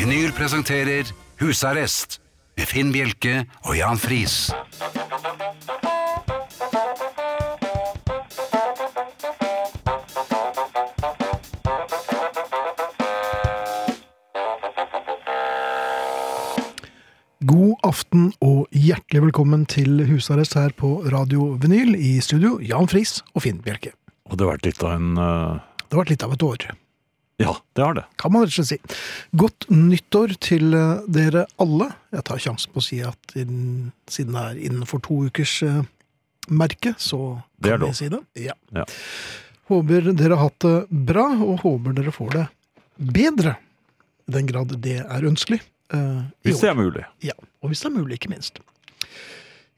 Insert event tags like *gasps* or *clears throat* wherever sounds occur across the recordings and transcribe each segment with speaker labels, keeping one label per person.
Speaker 1: Vinyl presenterer Husarrest med Finn Bjelke og Jan Friis.
Speaker 2: God aften og hjertelig velkommen til husarrest her på Radio Vinyl. I studio Jan Friis og Finn Bjelke.
Speaker 3: Og det har vært litt av en eh,
Speaker 2: Det har vært litt av et år,
Speaker 3: Ja, det har det.
Speaker 2: kan man rett og slett si. Godt nyttår til eh, dere alle. Jeg tar sjansen på å si at inn, siden det er innenfor to ukers eh, merke, så
Speaker 3: Det er
Speaker 2: kan
Speaker 3: lov.
Speaker 2: vi si det. Ja.
Speaker 3: Ja.
Speaker 2: Håper dere har hatt det bra, og håper dere får det bedre. I den grad det er ønskelig. eh, i
Speaker 3: Hvis
Speaker 2: år.
Speaker 3: det er mulig.
Speaker 2: Ja, og hvis det er mulig, ikke minst.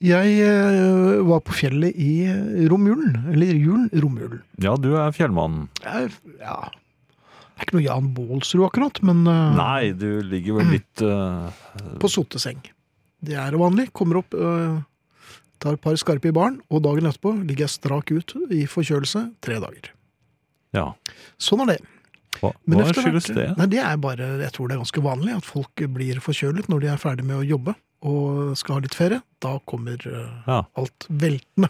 Speaker 2: Jeg eh, var på fjellet i eh, romjulen, eller julen, romjulen.
Speaker 3: Ja, du er fjellmannen.
Speaker 2: Jeg, ja, det er ikke noe Jan Bålsrud akkurat, men eh,
Speaker 3: Nei, du ligger
Speaker 2: Mm.
Speaker 3: vel litt eh,
Speaker 2: på soteseng. Det er vanlig. Kommer opp, eh, tar et par skarpe i baren, og dagen etterpå ligger jeg strak ut i forkjølelse tre dager.
Speaker 3: Ja.
Speaker 2: Sånn er det.
Speaker 3: Hva,
Speaker 2: Men
Speaker 3: hva
Speaker 2: etter hvert-
Speaker 3: skyldes det?
Speaker 2: Nei, det er bare, jeg tror det er ganske vanlig at folk blir forkjølet når de er ferdig med å jobbe og skal ha litt ferie. Da kommer eh,
Speaker 3: Ja.
Speaker 2: alt veltende.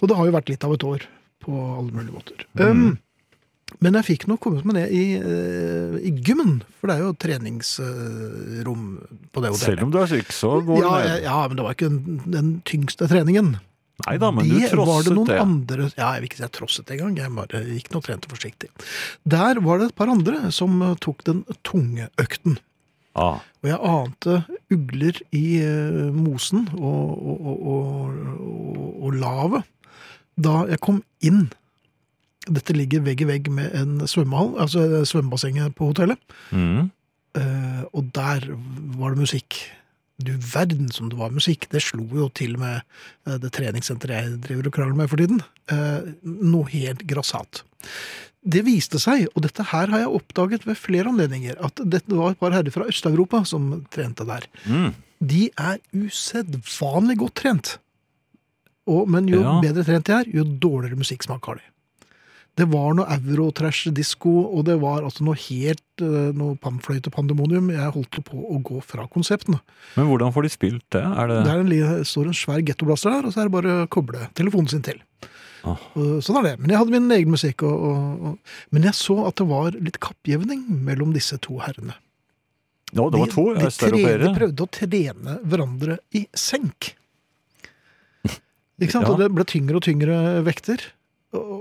Speaker 2: Og det har jo vært litt av et år på alle mulige måter.
Speaker 3: Mm.
Speaker 2: Um, men jeg fikk nok kommet meg ned i, eh, i gymmen, for det er jo treningsrom på det hotellet.
Speaker 3: Selv om du er syk, så går
Speaker 2: ja,
Speaker 3: det
Speaker 2: jeg-
Speaker 3: ned.
Speaker 2: ja, men det var ikke den, den tyngste treningen.
Speaker 3: Nei da, men du
Speaker 2: Det var det
Speaker 3: trosset
Speaker 2: noen
Speaker 3: det.
Speaker 2: andre Ja, jeg vil ikke si jeg trosset det engang. Jeg bare gikk nå og trente forsiktig. Der var det et par andre som eh, tok den tunge økten.
Speaker 3: Ah,
Speaker 2: Og jeg ante ugler i eh, mosen og, og, og, og, og, og lavet da jeg kom inn. Dette ligger vegg i vegg med en svømmehall, altså eh, svømmebassenget på hotellet.
Speaker 3: mm.
Speaker 2: Eh, og der var det musikk. Du verden som det var musikk. Det slo jo til med eh, det treningssenteret jeg driver og krangler med for tiden. Eh, noe helt grassat. Det viste seg, og dette her har jeg oppdaget ved flere anledninger, at dette var et par herrer fra Øst-Europa som trente der.
Speaker 3: Mm.
Speaker 2: De er usedvanlig godt trent. Og, men jo
Speaker 3: Ja.
Speaker 2: bedre trent de er, jo dårligere musikksmak har de. Det var noe euro-trash-disko, og det var altså noe helt eh, noe pannfløyte-pandemonium. Jeg holdt på å gå fra konseptene.
Speaker 3: Men hvordan får de spilt det? Er det,
Speaker 2: Der li- står en svær gettoblaster der, og så er det bare å koble telefonen sin til.
Speaker 3: Ah.
Speaker 2: Og Sånn er det. Men jeg hadde min egen musikk. Og, og, og, men jeg så at det var litt kappjevning mellom disse to herrene.
Speaker 3: ja, det var to
Speaker 2: de, de tredje
Speaker 3: østeuropeere.
Speaker 2: prøvde å trene hverandre i
Speaker 3: *laughs*
Speaker 2: senk. Ikke sant?
Speaker 3: Ja.
Speaker 2: Og det ble tyngre og tyngre vekter. Og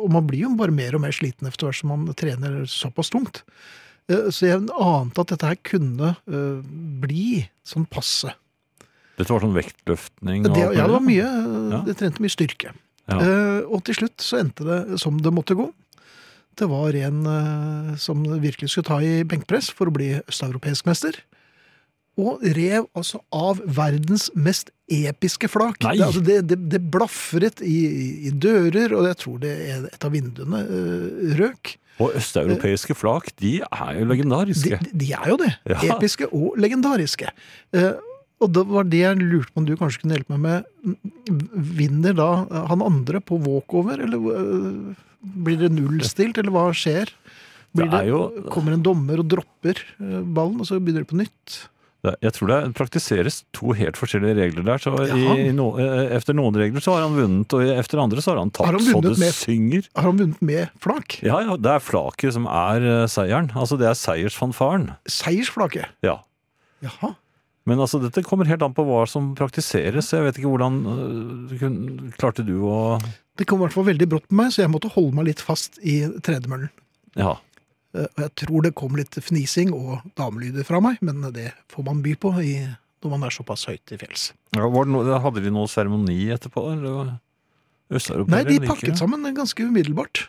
Speaker 2: og man blir jo bare mer og mer sliten etter hvert som man trener såpass tungt. Eh, Så jeg ante at dette her kunne eh, bli sånn passe.
Speaker 3: Dette var sånn vektløftning
Speaker 2: Det,
Speaker 3: alt
Speaker 2: ja, det var
Speaker 3: mulig.
Speaker 2: mye. eh,
Speaker 3: Ja.
Speaker 2: Det trente mye styrke.
Speaker 3: Ja.
Speaker 2: Eh, og til slutt så endte det som det måtte gå. Det var en eh, som virkelig skulle ta i benkpress for å bli østeuropeisk mester. Og rev altså av verdens mest episke flak.
Speaker 3: Nei.
Speaker 2: Det, altså, det, det, det blafret i, i dører, og jeg tror det er et av vinduene eh, røk.
Speaker 3: Og østeuropeiske flak, de er jo legendariske.
Speaker 2: De, de er jo det.
Speaker 3: Ja.
Speaker 2: Episke og legendariske. Eh, og det var det jeg lurte på om du kanskje kunne hjelpe meg med. Vinner da han andre på walkover, eller eh, blir det nullstilt, eller hva skjer? Blir
Speaker 3: Det er
Speaker 2: det
Speaker 3: jo-
Speaker 2: Kommer en dommer og dropper eh, ballen, og så begynner det på nytt?
Speaker 3: Det- Jeg tror det praktiseres to helt forskjellige regler der. Så
Speaker 2: Jaha.
Speaker 3: i, i no, eh, efter noen regler så har han vunnet, og efter andre så har han
Speaker 2: Har
Speaker 3: tapt.
Speaker 2: han
Speaker 3: så
Speaker 2: vunnet
Speaker 3: det
Speaker 2: med-
Speaker 3: synger.
Speaker 2: Har han vunnet med flak?
Speaker 3: Ja, ja, det er flaket som er eh, seieren. Altså det er seiersfanfaren.
Speaker 2: Seiersflake?
Speaker 3: Ja.
Speaker 2: Jaha.
Speaker 3: Men altså dette kommer helt an på hva som praktiseres. Jeg vet ikke hvordan eh, kun- Klarte du å
Speaker 2: Det kom i hvert fall veldig brått på meg, så jeg måtte holde meg litt fast i tredemøllen.
Speaker 3: Ja.
Speaker 2: Eh, Og jeg tror det kom litt fnising og damelyder fra meg, men det får man by på i, når man er såpass høyt til fjells.
Speaker 3: ja var det noe, hadde de noe seremoni etterpå? Eller?
Speaker 2: Nei, de pakket sammen ganske umiddelbart.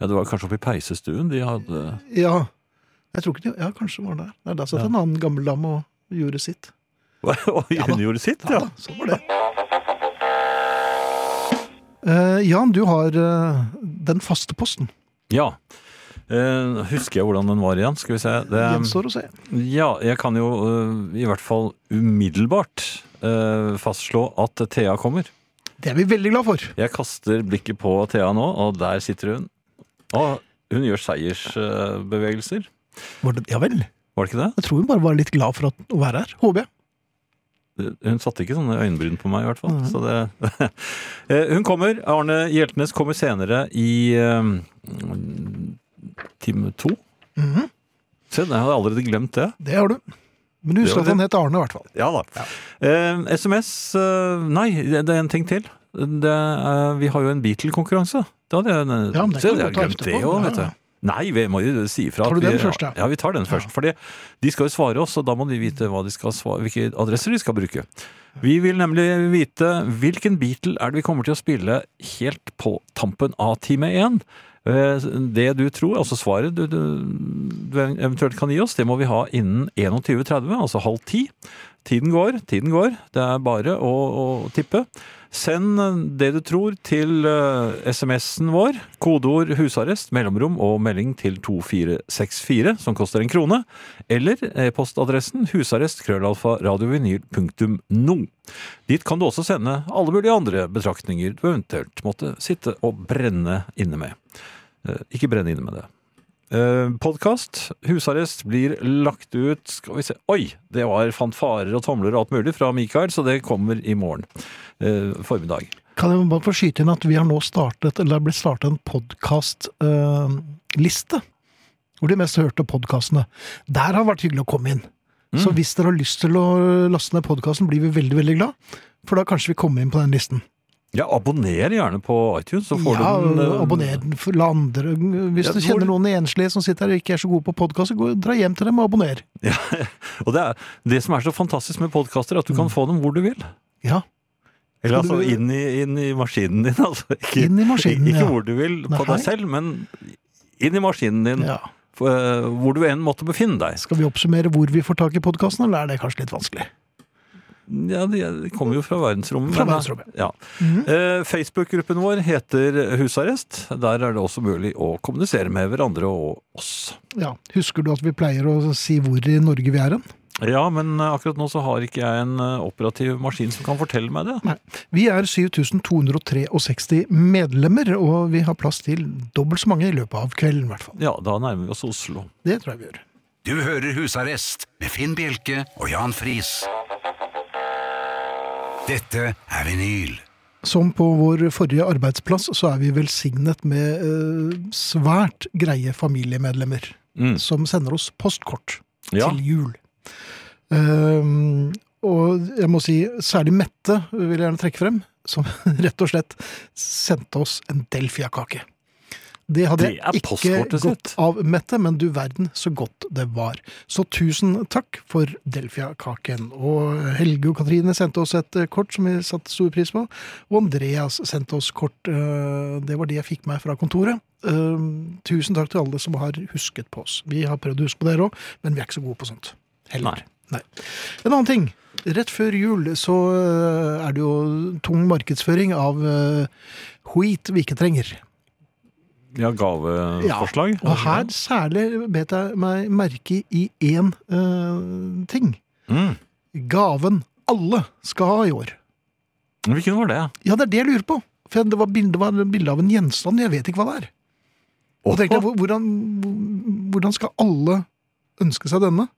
Speaker 3: Ja, Det var kanskje oppe i peisestuen de hadde *laughs*
Speaker 2: Ja, jeg tror ikke de, ja, kanskje var det der. Nei, der satt
Speaker 3: Ja.
Speaker 2: en annen gammel dam og gjorde sitt.
Speaker 3: Og
Speaker 2: Ja da.
Speaker 3: hun gjorde sitt,
Speaker 2: Ja
Speaker 3: ja.
Speaker 2: da, sånn var det. Eh, Jan, du har eh, den faste posten.
Speaker 3: Ja. Eh, husker jeg hvordan den var igjen? Skal vi se. Det,
Speaker 2: Gjenstår å se.
Speaker 3: ja, jeg kan jo eh, i hvert fall umiddelbart eh, fastslå at Thea kommer.
Speaker 2: Det er vi veldig glad for.
Speaker 3: Jeg kaster blikket på Thea nå, og der sitter hun. Og hun gjør seiersbevegelser.
Speaker 2: Var det, ja vel.
Speaker 3: Var det ikke det?
Speaker 2: Jeg tror hun bare var litt glad for at, å være her, håper jeg.
Speaker 3: Hun satte ikke sånne øyenbryn på meg, i hvert fall.
Speaker 2: Nei.
Speaker 3: Så det, *laughs* Eh, hun kommer. Arne Hjeltnes kommer senere i eh, time to.
Speaker 2: Mhm,
Speaker 3: Se, jeg hadde allerede glemt det.
Speaker 2: Det har du. Men du
Speaker 3: Det
Speaker 2: husker
Speaker 3: var
Speaker 2: at han het Arne, i hvert fall.
Speaker 3: Ja da. Eh, SMS eh, Nei, det det er en ting til. Det, eh, vi har jo en Beatle-konkurranse. Det hadde jeg,
Speaker 2: Ja, men det
Speaker 3: se,
Speaker 2: kan vi
Speaker 3: jeg
Speaker 2: godt ta
Speaker 3: glemt
Speaker 2: etterpå.
Speaker 3: det jo,
Speaker 2: Ja,
Speaker 3: vet
Speaker 2: ja.
Speaker 3: du. Nei, vi må jo si ifra.
Speaker 2: Tar du
Speaker 3: at vi,
Speaker 2: den først, ja?
Speaker 3: Ja, vi tar den først. Fordi de skal jo svare oss, og da må de vite hva de skal svare, hvilke adresser de skal bruke. Vi vil nemlig vite hvilken Beatle er det vi kommer til å spille helt på tampen av time én. Eh, Det du tror, altså svaret du, du, du eventuelt kan gi oss, det må vi ha innen 21.30, altså halv ti. Tiden går, tiden går. Det er bare å, å tippe. Send det du tror til eh, SMS-en vår. Kodeord 'husarrest', mellomrom og melding til 2464, som koster en krone. Eller e-postadressen husarrest.krøllalfa.radiovinyl.no. Dit kan du også sende alle mulige andre betraktninger du eventuelt måtte sitte og brenne inne med. Eh, Ikke brenne inne med det. Podkast. Eh, Husarrest blir lagt ut Skal vi se Oi! Det var fanfarer og tomler og alt mulig fra Mikael, så det kommer i morgen eh, formiddag.
Speaker 2: Kan jeg bare få skyte inn at vi har nå startet, eller det er blitt startet en podkastliste. hvor de mest hørte podkastene. Der har det vært hyggelig å komme inn. Så
Speaker 3: Mm.
Speaker 2: hvis dere har lyst til å laste ned podkasten, blir vi veldig, veldig glad. For da kanskje vi kommer inn på den listen.
Speaker 3: Ja, abonner gjerne på iTunes, så får
Speaker 2: ja,
Speaker 3: du den eh, *laughs*
Speaker 2: abonner den for la andre Hvis
Speaker 3: Ja,
Speaker 2: du
Speaker 3: hvor-
Speaker 2: kjenner noen enslige som sitter her og ikke er så gode på podkast, dra hjem til dem og abonner.
Speaker 3: Og det, er, det som er så fantastisk med podkaster, er at du kan få dem hvor du vil.
Speaker 2: Ja,
Speaker 3: Eller
Speaker 2: Skal
Speaker 3: altså
Speaker 2: Mm. du-
Speaker 3: inn i, inn i maskinen din. *laughs* Altså. Ikke,
Speaker 2: inn i maskinen.
Speaker 3: ikke
Speaker 2: ja.
Speaker 3: hvor du vil på
Speaker 2: Nei.
Speaker 3: deg selv, men inn i maskinen din.
Speaker 2: Ja.
Speaker 3: f- eh, Hvor du enn måtte befinne deg.
Speaker 2: Skal vi oppsummere hvor vi får tak i podkasten, eller er det kanskje litt vanskelig?
Speaker 3: Ja, de de kommer jo fra verdensrommet.
Speaker 2: Fra
Speaker 3: men, eh,
Speaker 2: verdensrommet.
Speaker 3: Ja.
Speaker 2: Mhm.
Speaker 3: Eh, Facebook-gruppen vår heter Husarrest. Der er det også mulig å kommunisere med hverandre og oss.
Speaker 2: Ja. Husker du at vi pleier å si hvor i Norge vi er hen?
Speaker 3: Ja, men eh, akkurat nå så har ikke jeg en eh, operativ maskin som kan fortelle meg det.
Speaker 2: Nei. Vi er 7263 medlemmer, og vi har plass til dobbelt så mange i løpet av kvelden, i hvert fall.
Speaker 3: Ja, da nærmer vi oss Oslo.
Speaker 2: Det tror jeg vi gjør.
Speaker 1: Du hører Husarrest med Finn Bjelke og Jan Friis. Dette er vinyl.
Speaker 2: Som på vår forrige arbeidsplass, så er vi velsignet med eh, svært greie familiemedlemmer
Speaker 3: Mm.
Speaker 2: som sender oss postkort
Speaker 3: Ja.
Speaker 2: til jul. Ehm, og jeg må si, særlig Mette vil jeg gjerne trekke frem, som *laughs* rett og slett sendte oss en Delfia-kake. Det hadde
Speaker 3: Det er
Speaker 2: jeg ikke
Speaker 3: postkortet
Speaker 2: godt
Speaker 3: sitt.
Speaker 2: av, Mette, men du verden så godt det var. Så tusen takk for Delfia-kaken. Og Helge og Katrine sendte oss et eh, kort som vi satte stor pris på. Og Andreas sendte oss kort. eh, Det var det jeg fikk meg fra kontoret. Eh, Tusen takk til alle som har husket på oss. Vi har prøvd å huske på dere òg, men vi er ikke så gode på sånt. Heller. Nei. En annen ting. Rett før jul så eh, er det jo tung markedsføring av eh, Huit vi ikke trenger.
Speaker 3: Ja, gaveforslag.
Speaker 2: Og her særlig bet jeg meg merke i én eh, ting.
Speaker 3: Mm.
Speaker 2: Gaven alle skal ha i år.
Speaker 3: Hvilken var det?
Speaker 2: Ja, det er det jeg lurer på. For det var bilde, det var bilde av en gjenstand, jeg vet ikke hva det er. Og tenkte jeg, hvor- hvordan, hvordan skal alle ønske seg denne?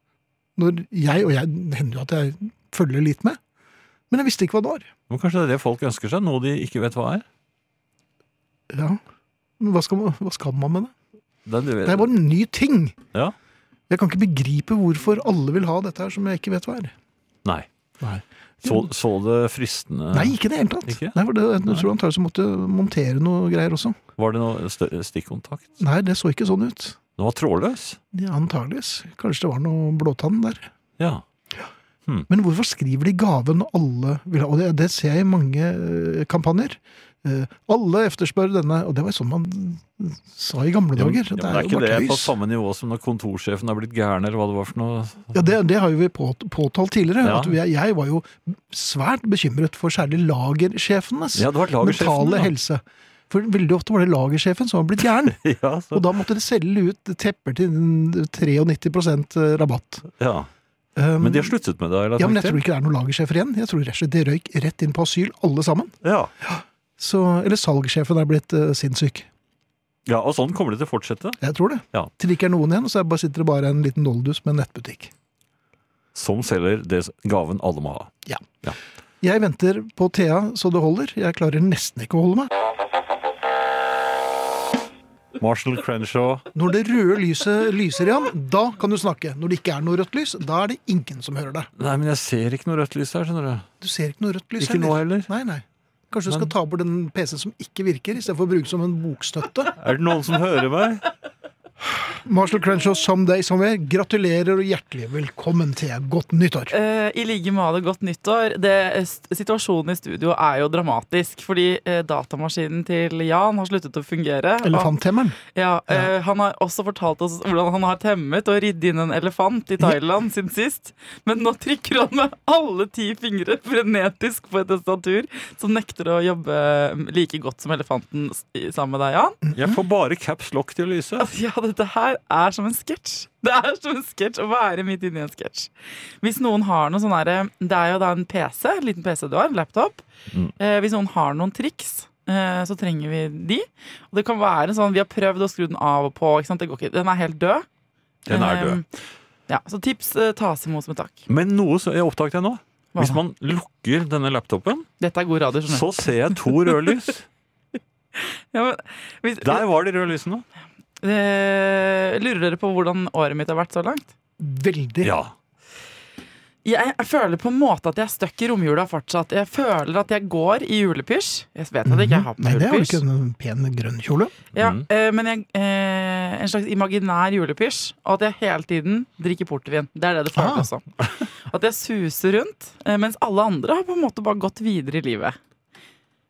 Speaker 2: Når jeg, og jeg det hender jo at jeg følger litt med, men jeg visste ikke hva det var.
Speaker 3: Men kanskje det er det folk ønsker seg, noe de ikke vet hva er?
Speaker 2: Ja. Men hva skal, man- hva skal man med det?
Speaker 3: Det, er-
Speaker 2: Det er bare en ny ting.
Speaker 3: Ja.
Speaker 2: Jeg kan ikke begripe hvorfor alle vil ha dette her som jeg ikke vet hva er.
Speaker 3: Nei.
Speaker 2: Nei.
Speaker 3: Så, så det fristende
Speaker 2: Nei, ikke i det hele tatt.
Speaker 3: Ikke?
Speaker 2: Nei, for det, jeg tror antakelig så måtte jeg montere noe greier også.
Speaker 3: Var det noe større stikkontakt?
Speaker 2: Nei, det så ikke sånn ut.
Speaker 3: Den var trådløs?
Speaker 2: Ja, antageligvis. Kanskje det var noe blåtann der.
Speaker 3: Ja.
Speaker 2: Men hvorfor skriver de gaven alle vil ha? Og det, det ser jeg i mange eh, kampanjer. Eh, alle efterspør denne, og det var jo sånn man sa i gamle
Speaker 3: Ja, men-
Speaker 2: dager.
Speaker 3: ja,
Speaker 2: det
Speaker 3: men det
Speaker 2: er jo
Speaker 3: ikke
Speaker 2: bare
Speaker 3: det på
Speaker 2: tøys.
Speaker 3: samme nivå som når kontorsjefen er blitt gæren, eller hva det var for noe?
Speaker 2: Ja, det, det har jo vi på, påtalt tidligere.
Speaker 3: Ja.
Speaker 2: At jeg, jeg var jo svært bekymret for særlig lagersjefenes
Speaker 3: Ja, det var
Speaker 2: mentale
Speaker 3: lagersjefen.
Speaker 2: helse. For veldig ofte var det lagersjefen som var blitt gæren.
Speaker 3: Ja. Ja, så,
Speaker 2: Og da måtte de selge ut tepper til 93 eh, rabatt.
Speaker 3: ja.
Speaker 2: Um,
Speaker 3: Men de har sluttet med det? Eller,
Speaker 2: Ja, men jeg tror ikke det er noen lagersjefer igjen. Jeg tror rett og slett de røyk rett inn på asyl, alle sammen.
Speaker 3: ja.
Speaker 2: Så, eller salgssjefen er blitt eh, sinnssyk.
Speaker 3: Ja, og sånn kommer det til å fortsette.
Speaker 2: Jeg tror det.
Speaker 3: Ja.
Speaker 2: Til det ikke er noen igjen, så er bare, sitter det bare en liten doldus med en nettbutikk.
Speaker 3: Som selger det gaven alle må ha.
Speaker 2: Jeg venter på Thea så det holder. Jeg klarer nesten ikke å holde meg.
Speaker 3: Marshall Crenshaw.
Speaker 2: Når det røde lyset lyser igjen, da kan du snakke. Når det ikke er noe rødt lys, da er det ingen som hører deg.
Speaker 3: Nei, men jeg ser ikke noe rødt lys her, skjønner du.
Speaker 2: Du ser ikke noe rødt lys
Speaker 3: Ikke nå heller.
Speaker 2: Nei, nei. Kanskje du skal
Speaker 3: Men-
Speaker 2: ta bort den PC-en som ikke virker, istedenfor å bruke som en bokstøtte.
Speaker 3: Er det noen som hører meg?
Speaker 2: Marshall Crenshaw, Someday Somewhere, gratulerer og hjertelig velkommen til Godt nyttår.
Speaker 4: Eh, I like måte, godt nyttår. Det, s- situasjonen i studio er jo dramatisk, fordi eh, datamaskinen til Jan har sluttet å fungere.
Speaker 2: Elefanthemmeren.
Speaker 4: Og- Ja, eh, han har også fortalt oss hvordan han har temmet og ridd inn en elefant i Thailand siden sist. Men nå trykker han med alle ti fingre frenetisk på et tastatur som nekter å jobbe like godt som elefanten s- i- sammen med deg, Jan.
Speaker 3: Jeg får bare caps lock til å lyse.
Speaker 4: Altså, ja, dette her er som en sketsj. Det er som en sketsj å være midt inni en sketsj. Hvis noen har noe sånn herre Det er jo da en PC, en liten PC du har, en laptop.
Speaker 3: Mm.
Speaker 4: Eh, hvis noen har noen triks, eh, så trenger vi de. Og det kan være sånn Vi har prøvd å skru den av og på. Ikke sant? Det går ikke. Den er helt død.
Speaker 3: Den er død.
Speaker 4: Eh, ja, så tips eh, tas imot som et takk.
Speaker 3: Men noe som jeg oppdaget jeg nå.
Speaker 4: Hva
Speaker 3: Hvis
Speaker 4: da?
Speaker 3: man lukker denne laptopen,
Speaker 4: Dette er god radio, skjønner du.
Speaker 3: så ser jeg to røde lys.
Speaker 4: Ja, men hvis-
Speaker 3: Der var de røde lysene.
Speaker 4: eh, lurer dere på hvordan året mitt har vært så langt?
Speaker 2: Veldig.
Speaker 3: Ja.
Speaker 4: Jeg, jeg føler på en måte at jeg er stuck i romjula fortsatt. Jeg føler at jeg går i julepysj. Jeg vet at jeg ikke har på
Speaker 2: Mhm. Nei,
Speaker 4: meg
Speaker 2: det er jo
Speaker 4: julepysj.
Speaker 2: ikke en pen grønn kjole.
Speaker 4: Ja,
Speaker 3: Mm.
Speaker 4: eh, men jeg, eh, en slags imaginær julepysj. Og at jeg hele tiden drikker portvin. Det er det det
Speaker 2: Ah.
Speaker 4: føles som. At jeg suser rundt, eh, mens alle andre har på en måte bare gått videre i livet.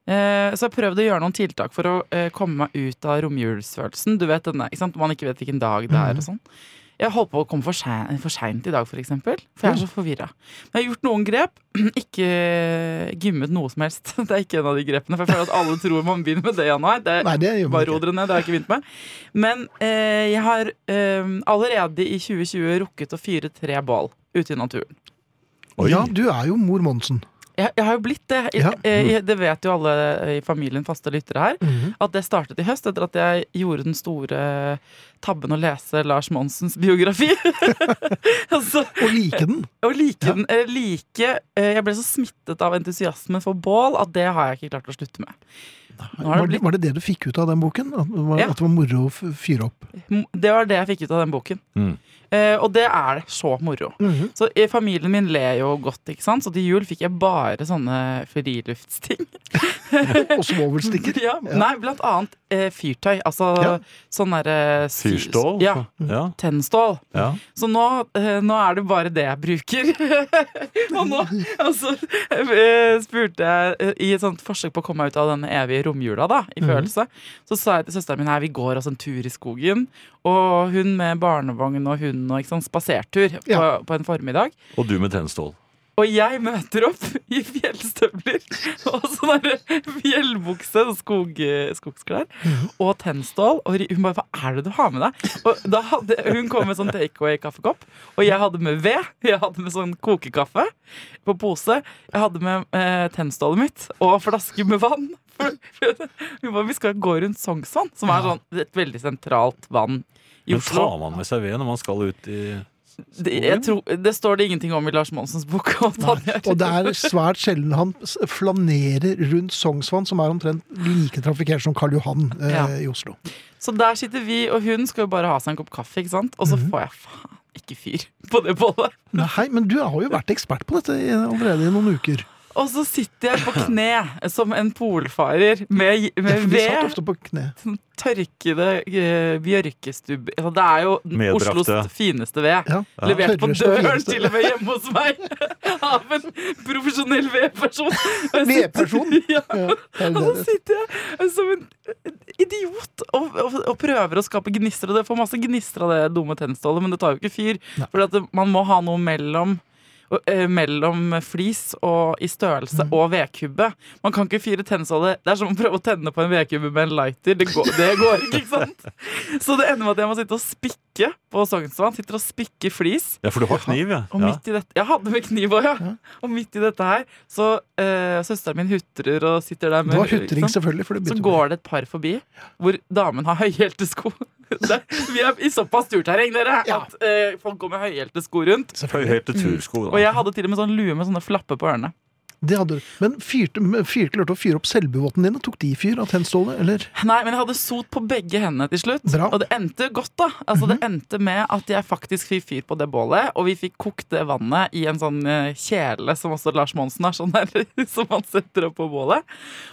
Speaker 4: Eh, så jeg prøvde å gjøre noen tiltak for å eh, komme meg ut av romjulsfølelsen. Du vet denne, ikke sant? Man ikke vet hvilken dag det
Speaker 2: Mm.
Speaker 4: er og sånn. Jeg holdt på å komme for sein- for seint i dag, for eksempel. For jeg er så forvirra. Men jeg har gjort noen grep. *clears throat* Ikke eh, gymmet noe som helst. *laughs* Det er ikke en av de grepene. For jeg føler at alle tror man begynner med det i januar. Det er
Speaker 2: Nei, det gjør
Speaker 4: bare
Speaker 2: man
Speaker 4: ro
Speaker 2: ikke.
Speaker 4: dere ned, det har jeg ikke begynt med. Men eh, jeg har eh, allerede i 2020 rukket å fyre tre bål ute i naturen.
Speaker 3: Oi.
Speaker 2: Ja, du er jo mor Monsen.
Speaker 4: Jeg, jeg har jo blitt det. Jeg,
Speaker 2: Ja. Mm.
Speaker 4: eh, det vet jo alle i familien faste lyttere her. At det startet i høst, etter at jeg gjorde den store tabben å lese Lars Monsens biografi. *laughs* altså,
Speaker 2: Og like den.
Speaker 4: å like
Speaker 2: Ja.
Speaker 4: den eh, like eh, Jeg ble så smittet av entusiasmen for bål at det har jeg ikke klart å slutte med. Nå har
Speaker 2: Var
Speaker 4: det
Speaker 2: det,
Speaker 4: blitt,
Speaker 2: var det det du fikk ut av den boken? At det var,
Speaker 4: Ja.
Speaker 2: at det var moro å f- fyre opp?
Speaker 4: det var det jeg fikk ut av den boken.
Speaker 3: Mm.
Speaker 4: Eh, og det er så moro. Så eh, Familien min ler jo godt, ikke sant? så til jul fikk jeg bare sånne friluftsting.
Speaker 2: Og svovelstikker.
Speaker 4: Ja. Nei, blant annet eh, fyrtøy. Altså
Speaker 2: Ja.
Speaker 4: sånn derre
Speaker 3: Fyrstål.
Speaker 4: Ja.
Speaker 3: ja.
Speaker 4: Tennstål.
Speaker 3: ja.
Speaker 4: Så nå, eh, nå er det bare det jeg bruker. *laughs* og nå altså, eh, spurte jeg eh, i et sånt forsøk på å komme meg ut av denne evige romjula, da, i følelse, så sa jeg til søsteren min her vi går oss en tur i skogen. Og hun med barnevogn og hund og ikke sånn spasertur på,
Speaker 2: Ja.
Speaker 4: på en formiddag.
Speaker 3: Og du med tennstål.
Speaker 4: Og jeg møter opp i fjellstøvler og sånn der fjellbukse og skog, skogsklær og tennstål. Og ri- hun bare 'hva er det du har med deg?' Og da hadde, hun kom med sånn takeaway-kaffekopp. Og jeg hadde med ved, jeg hadde med sånn kokekaffe på pose. Jeg hadde med eh, tennstålet mitt og flaske med vann. For, hun bare 'vi skal gå rundt Sognsvann', som er sånn et veldig sentralt vann i
Speaker 3: Men
Speaker 4: Oslo.
Speaker 3: tar man med seg ved når man skal ut i
Speaker 4: Det, jeg tror, det står det ingenting om i Lars Monsens bok. Og Tanja.
Speaker 2: Og det er svært sjelden han s- flanerer rundt Sognsvann, som er omtrent like trafikkert som Karl Johan eh,
Speaker 4: Ja.
Speaker 2: i Oslo.
Speaker 4: Så der sitter vi, og hun skal jo bare ha seg en kopp kaffe, ikke sant? Og så
Speaker 2: Mhm.
Speaker 4: får jeg faen ikke fyr *laughs* på det bollet.
Speaker 2: Nei, men du har jo vært ekspert på dette i- allerede i noen uker.
Speaker 4: Og så sitter jeg på
Speaker 2: *laughs*
Speaker 4: kne som en polfarer med,
Speaker 2: Ja,
Speaker 4: med
Speaker 2: for vi satt
Speaker 4: ved,
Speaker 2: ofte på kne.
Speaker 4: sånn tørkede eh, bjørkestubb. Altså, Det er jo den
Speaker 3: Medbragte.
Speaker 4: Oslos fineste ved.
Speaker 2: Ja.
Speaker 4: Levert på
Speaker 2: Tørreste og
Speaker 4: døren,
Speaker 2: fineste.
Speaker 4: til og med hjemme hos meg, *laughs* av en profesjonell vedperson. Og jeg sitter-
Speaker 2: Vedperson?
Speaker 4: *laughs* Ja.
Speaker 2: Ja, det er det det
Speaker 4: Og så
Speaker 2: heter.
Speaker 4: sitter jeg eh, som en eh, idiot og, og, og prøver å skape gnister. Og det får masse gnister av det dumme tennstålet, men det tar jo ikke fyr.
Speaker 2: Nei.
Speaker 4: For man må ha noe mellom og, eh, mellom flis og i størrelse
Speaker 2: Mm.
Speaker 4: og vedkubbe. Man kan ikke fyre tennstålet. Det er som å prøve å tenne på en vedkubbe med en lighter. Det går, det går ikke, ikke sant? Så det ender med at jeg må sitte og spikke Rikke på Sognsvann sitter og spikker flis.
Speaker 3: Ja, for du har kniv, ja.
Speaker 4: Og
Speaker 3: ja.
Speaker 4: midt i dette Jeg hadde med kniv òg, ja.
Speaker 2: Ja.
Speaker 4: Og midt i dette her, så eh, søsteren min hutrer og sitter der
Speaker 2: Det
Speaker 4: med
Speaker 2: var hutring,
Speaker 4: liksom.
Speaker 2: selvfølgelig. For det
Speaker 4: Så
Speaker 2: begynte med-
Speaker 4: går det et par forbi hvor damen har høyhælte sko. *laughs* Det- Vi er i såpass turterreng, dere,
Speaker 2: Ja.
Speaker 4: at eh, folk går med høyhælte sko rundt.
Speaker 2: Selvfølgelig.
Speaker 3: Høyhælte tursko.
Speaker 4: Og
Speaker 3: Da.
Speaker 4: jeg hadde til og med sånn lue med sånne flapper på ørene.
Speaker 2: Det hadde du. Men fyrte, fyr, klarte å fyre opp selbuvåten din, og tok de i fyr av tennstålet, eller?
Speaker 4: Nei, men jeg hadde sot på begge hendene til slutt.
Speaker 2: Bra. Mhm.
Speaker 4: Og det endte godt, da. Altså, Det endte med at jeg faktisk fikk fyr på det bålet, og vi fikk kokt det vannet i en sånn eh, kjele som også Lars Monsen har, sånn der, *laughs* som han setter opp på bålet.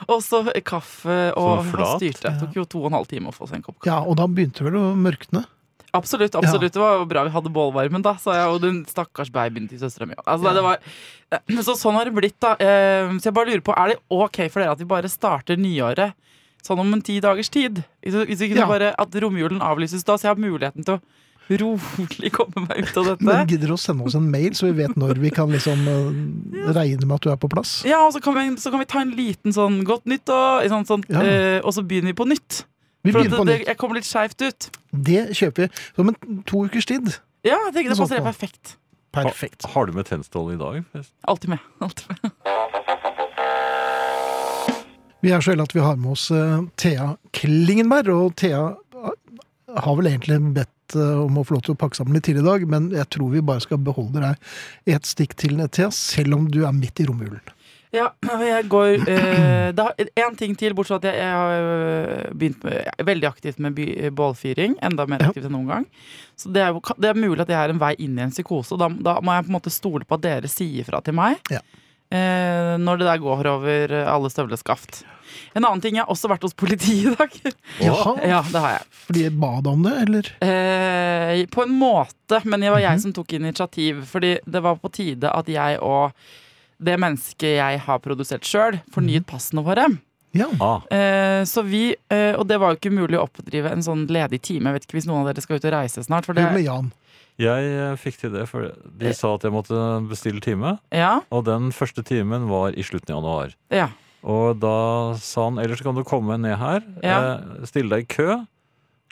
Speaker 4: Og så kaffe og
Speaker 3: Sånn
Speaker 4: han
Speaker 3: flat?
Speaker 4: styrte. Det tok jo to og en halv time å få seg en kopp kaffe.
Speaker 2: Ja, og da begynte vel å mørkne.
Speaker 4: Absolutt. absolutt, Det var jo bra vi hadde bålvarmen, da, sa jeg. Og den stakkars babyen til søstera mi. Altså, det var- Eh, Så sånn har det blitt, da. Eh, Så jeg bare lurer på, er det ok for dere at vi bare starter nyåret sånn om en ti dagers tid? Hvis hvis ikke
Speaker 2: Ja.
Speaker 4: så bare at romjulen avlyses da, så jeg har muligheten til å rolig komme meg ut av
Speaker 2: Men
Speaker 4: dette.
Speaker 2: gidder du å sende oss en mail, så vi vet når vi kan liksom eh, regne med at du er på plass?
Speaker 4: Ja, og så kan, vi, så kan vi ta en liten sånn godt nytt, og, sånn, sånn,
Speaker 2: Ja.
Speaker 4: eh, og så begynner vi på nytt.
Speaker 2: Vi
Speaker 4: For at
Speaker 2: begynner på
Speaker 4: det,
Speaker 2: nytt.
Speaker 4: det, jeg kommer litt skeivt ut.
Speaker 2: Det kjøper vi. Som en to ukers tid.
Speaker 4: Ja, jeg tenker det
Speaker 2: Sånn
Speaker 4: passer helt
Speaker 2: på.
Speaker 4: perfekt.
Speaker 2: Perfekt.
Speaker 3: Har du med tennstål i dag? forresten?
Speaker 4: Alltid med. Alltid med.
Speaker 2: Vi er så heldige at vi har med oss eh, Thea Klingenberg, og Thea eh, har vel egentlig bedt eh, om å få lov til å pakke sammen litt tidlig i dag, men jeg tror vi bare skal beholde deg i et stikk til, Thea, selv om du er midt i romjulen.
Speaker 4: Ja, og jeg går eh, Det er én ting til, bortsett fra at jeg, jeg har eh, begynt med, jeg er veldig aktivt med by, eh, bålfyring. Enda mer
Speaker 2: Ja.
Speaker 4: aktivt enn noen gang. Så det er, jo, det er mulig at jeg er en vei inn i en psykose. og Da, da må jeg på en måte stole på at dere sier fra til meg.
Speaker 2: Ja.
Speaker 4: eh, når det der går over alle støvleskaft. En annen ting, jeg har også vært hos politiet i dag.
Speaker 2: Jaha,
Speaker 4: ja, det har jeg.
Speaker 2: fordi jeg ba deg om det, eller?
Speaker 4: Eh, på en måte, men det var jeg som tok initiativ. Fordi det var på tide at jeg og det mennesket jeg har produsert sjøl, fornyet passene våre.
Speaker 2: Ja.
Speaker 3: Ah,
Speaker 4: Eh, så vi, eh, Og det var jo ikke mulig å oppdrive en sånn ledig time. Jeg vet ikke hvis noen av dere skal ut og reise snart. For
Speaker 2: Det med
Speaker 4: det,
Speaker 2: Jan.
Speaker 3: jeg eh, fikk til det, for
Speaker 4: Eh.
Speaker 3: de sa at jeg måtte bestille time.
Speaker 4: ja,
Speaker 3: Og den første timen var i slutten av januar.
Speaker 4: ja.
Speaker 3: Og da sa han ellers kan du komme ned her,
Speaker 4: Ja.
Speaker 3: eh, stille deg i kø.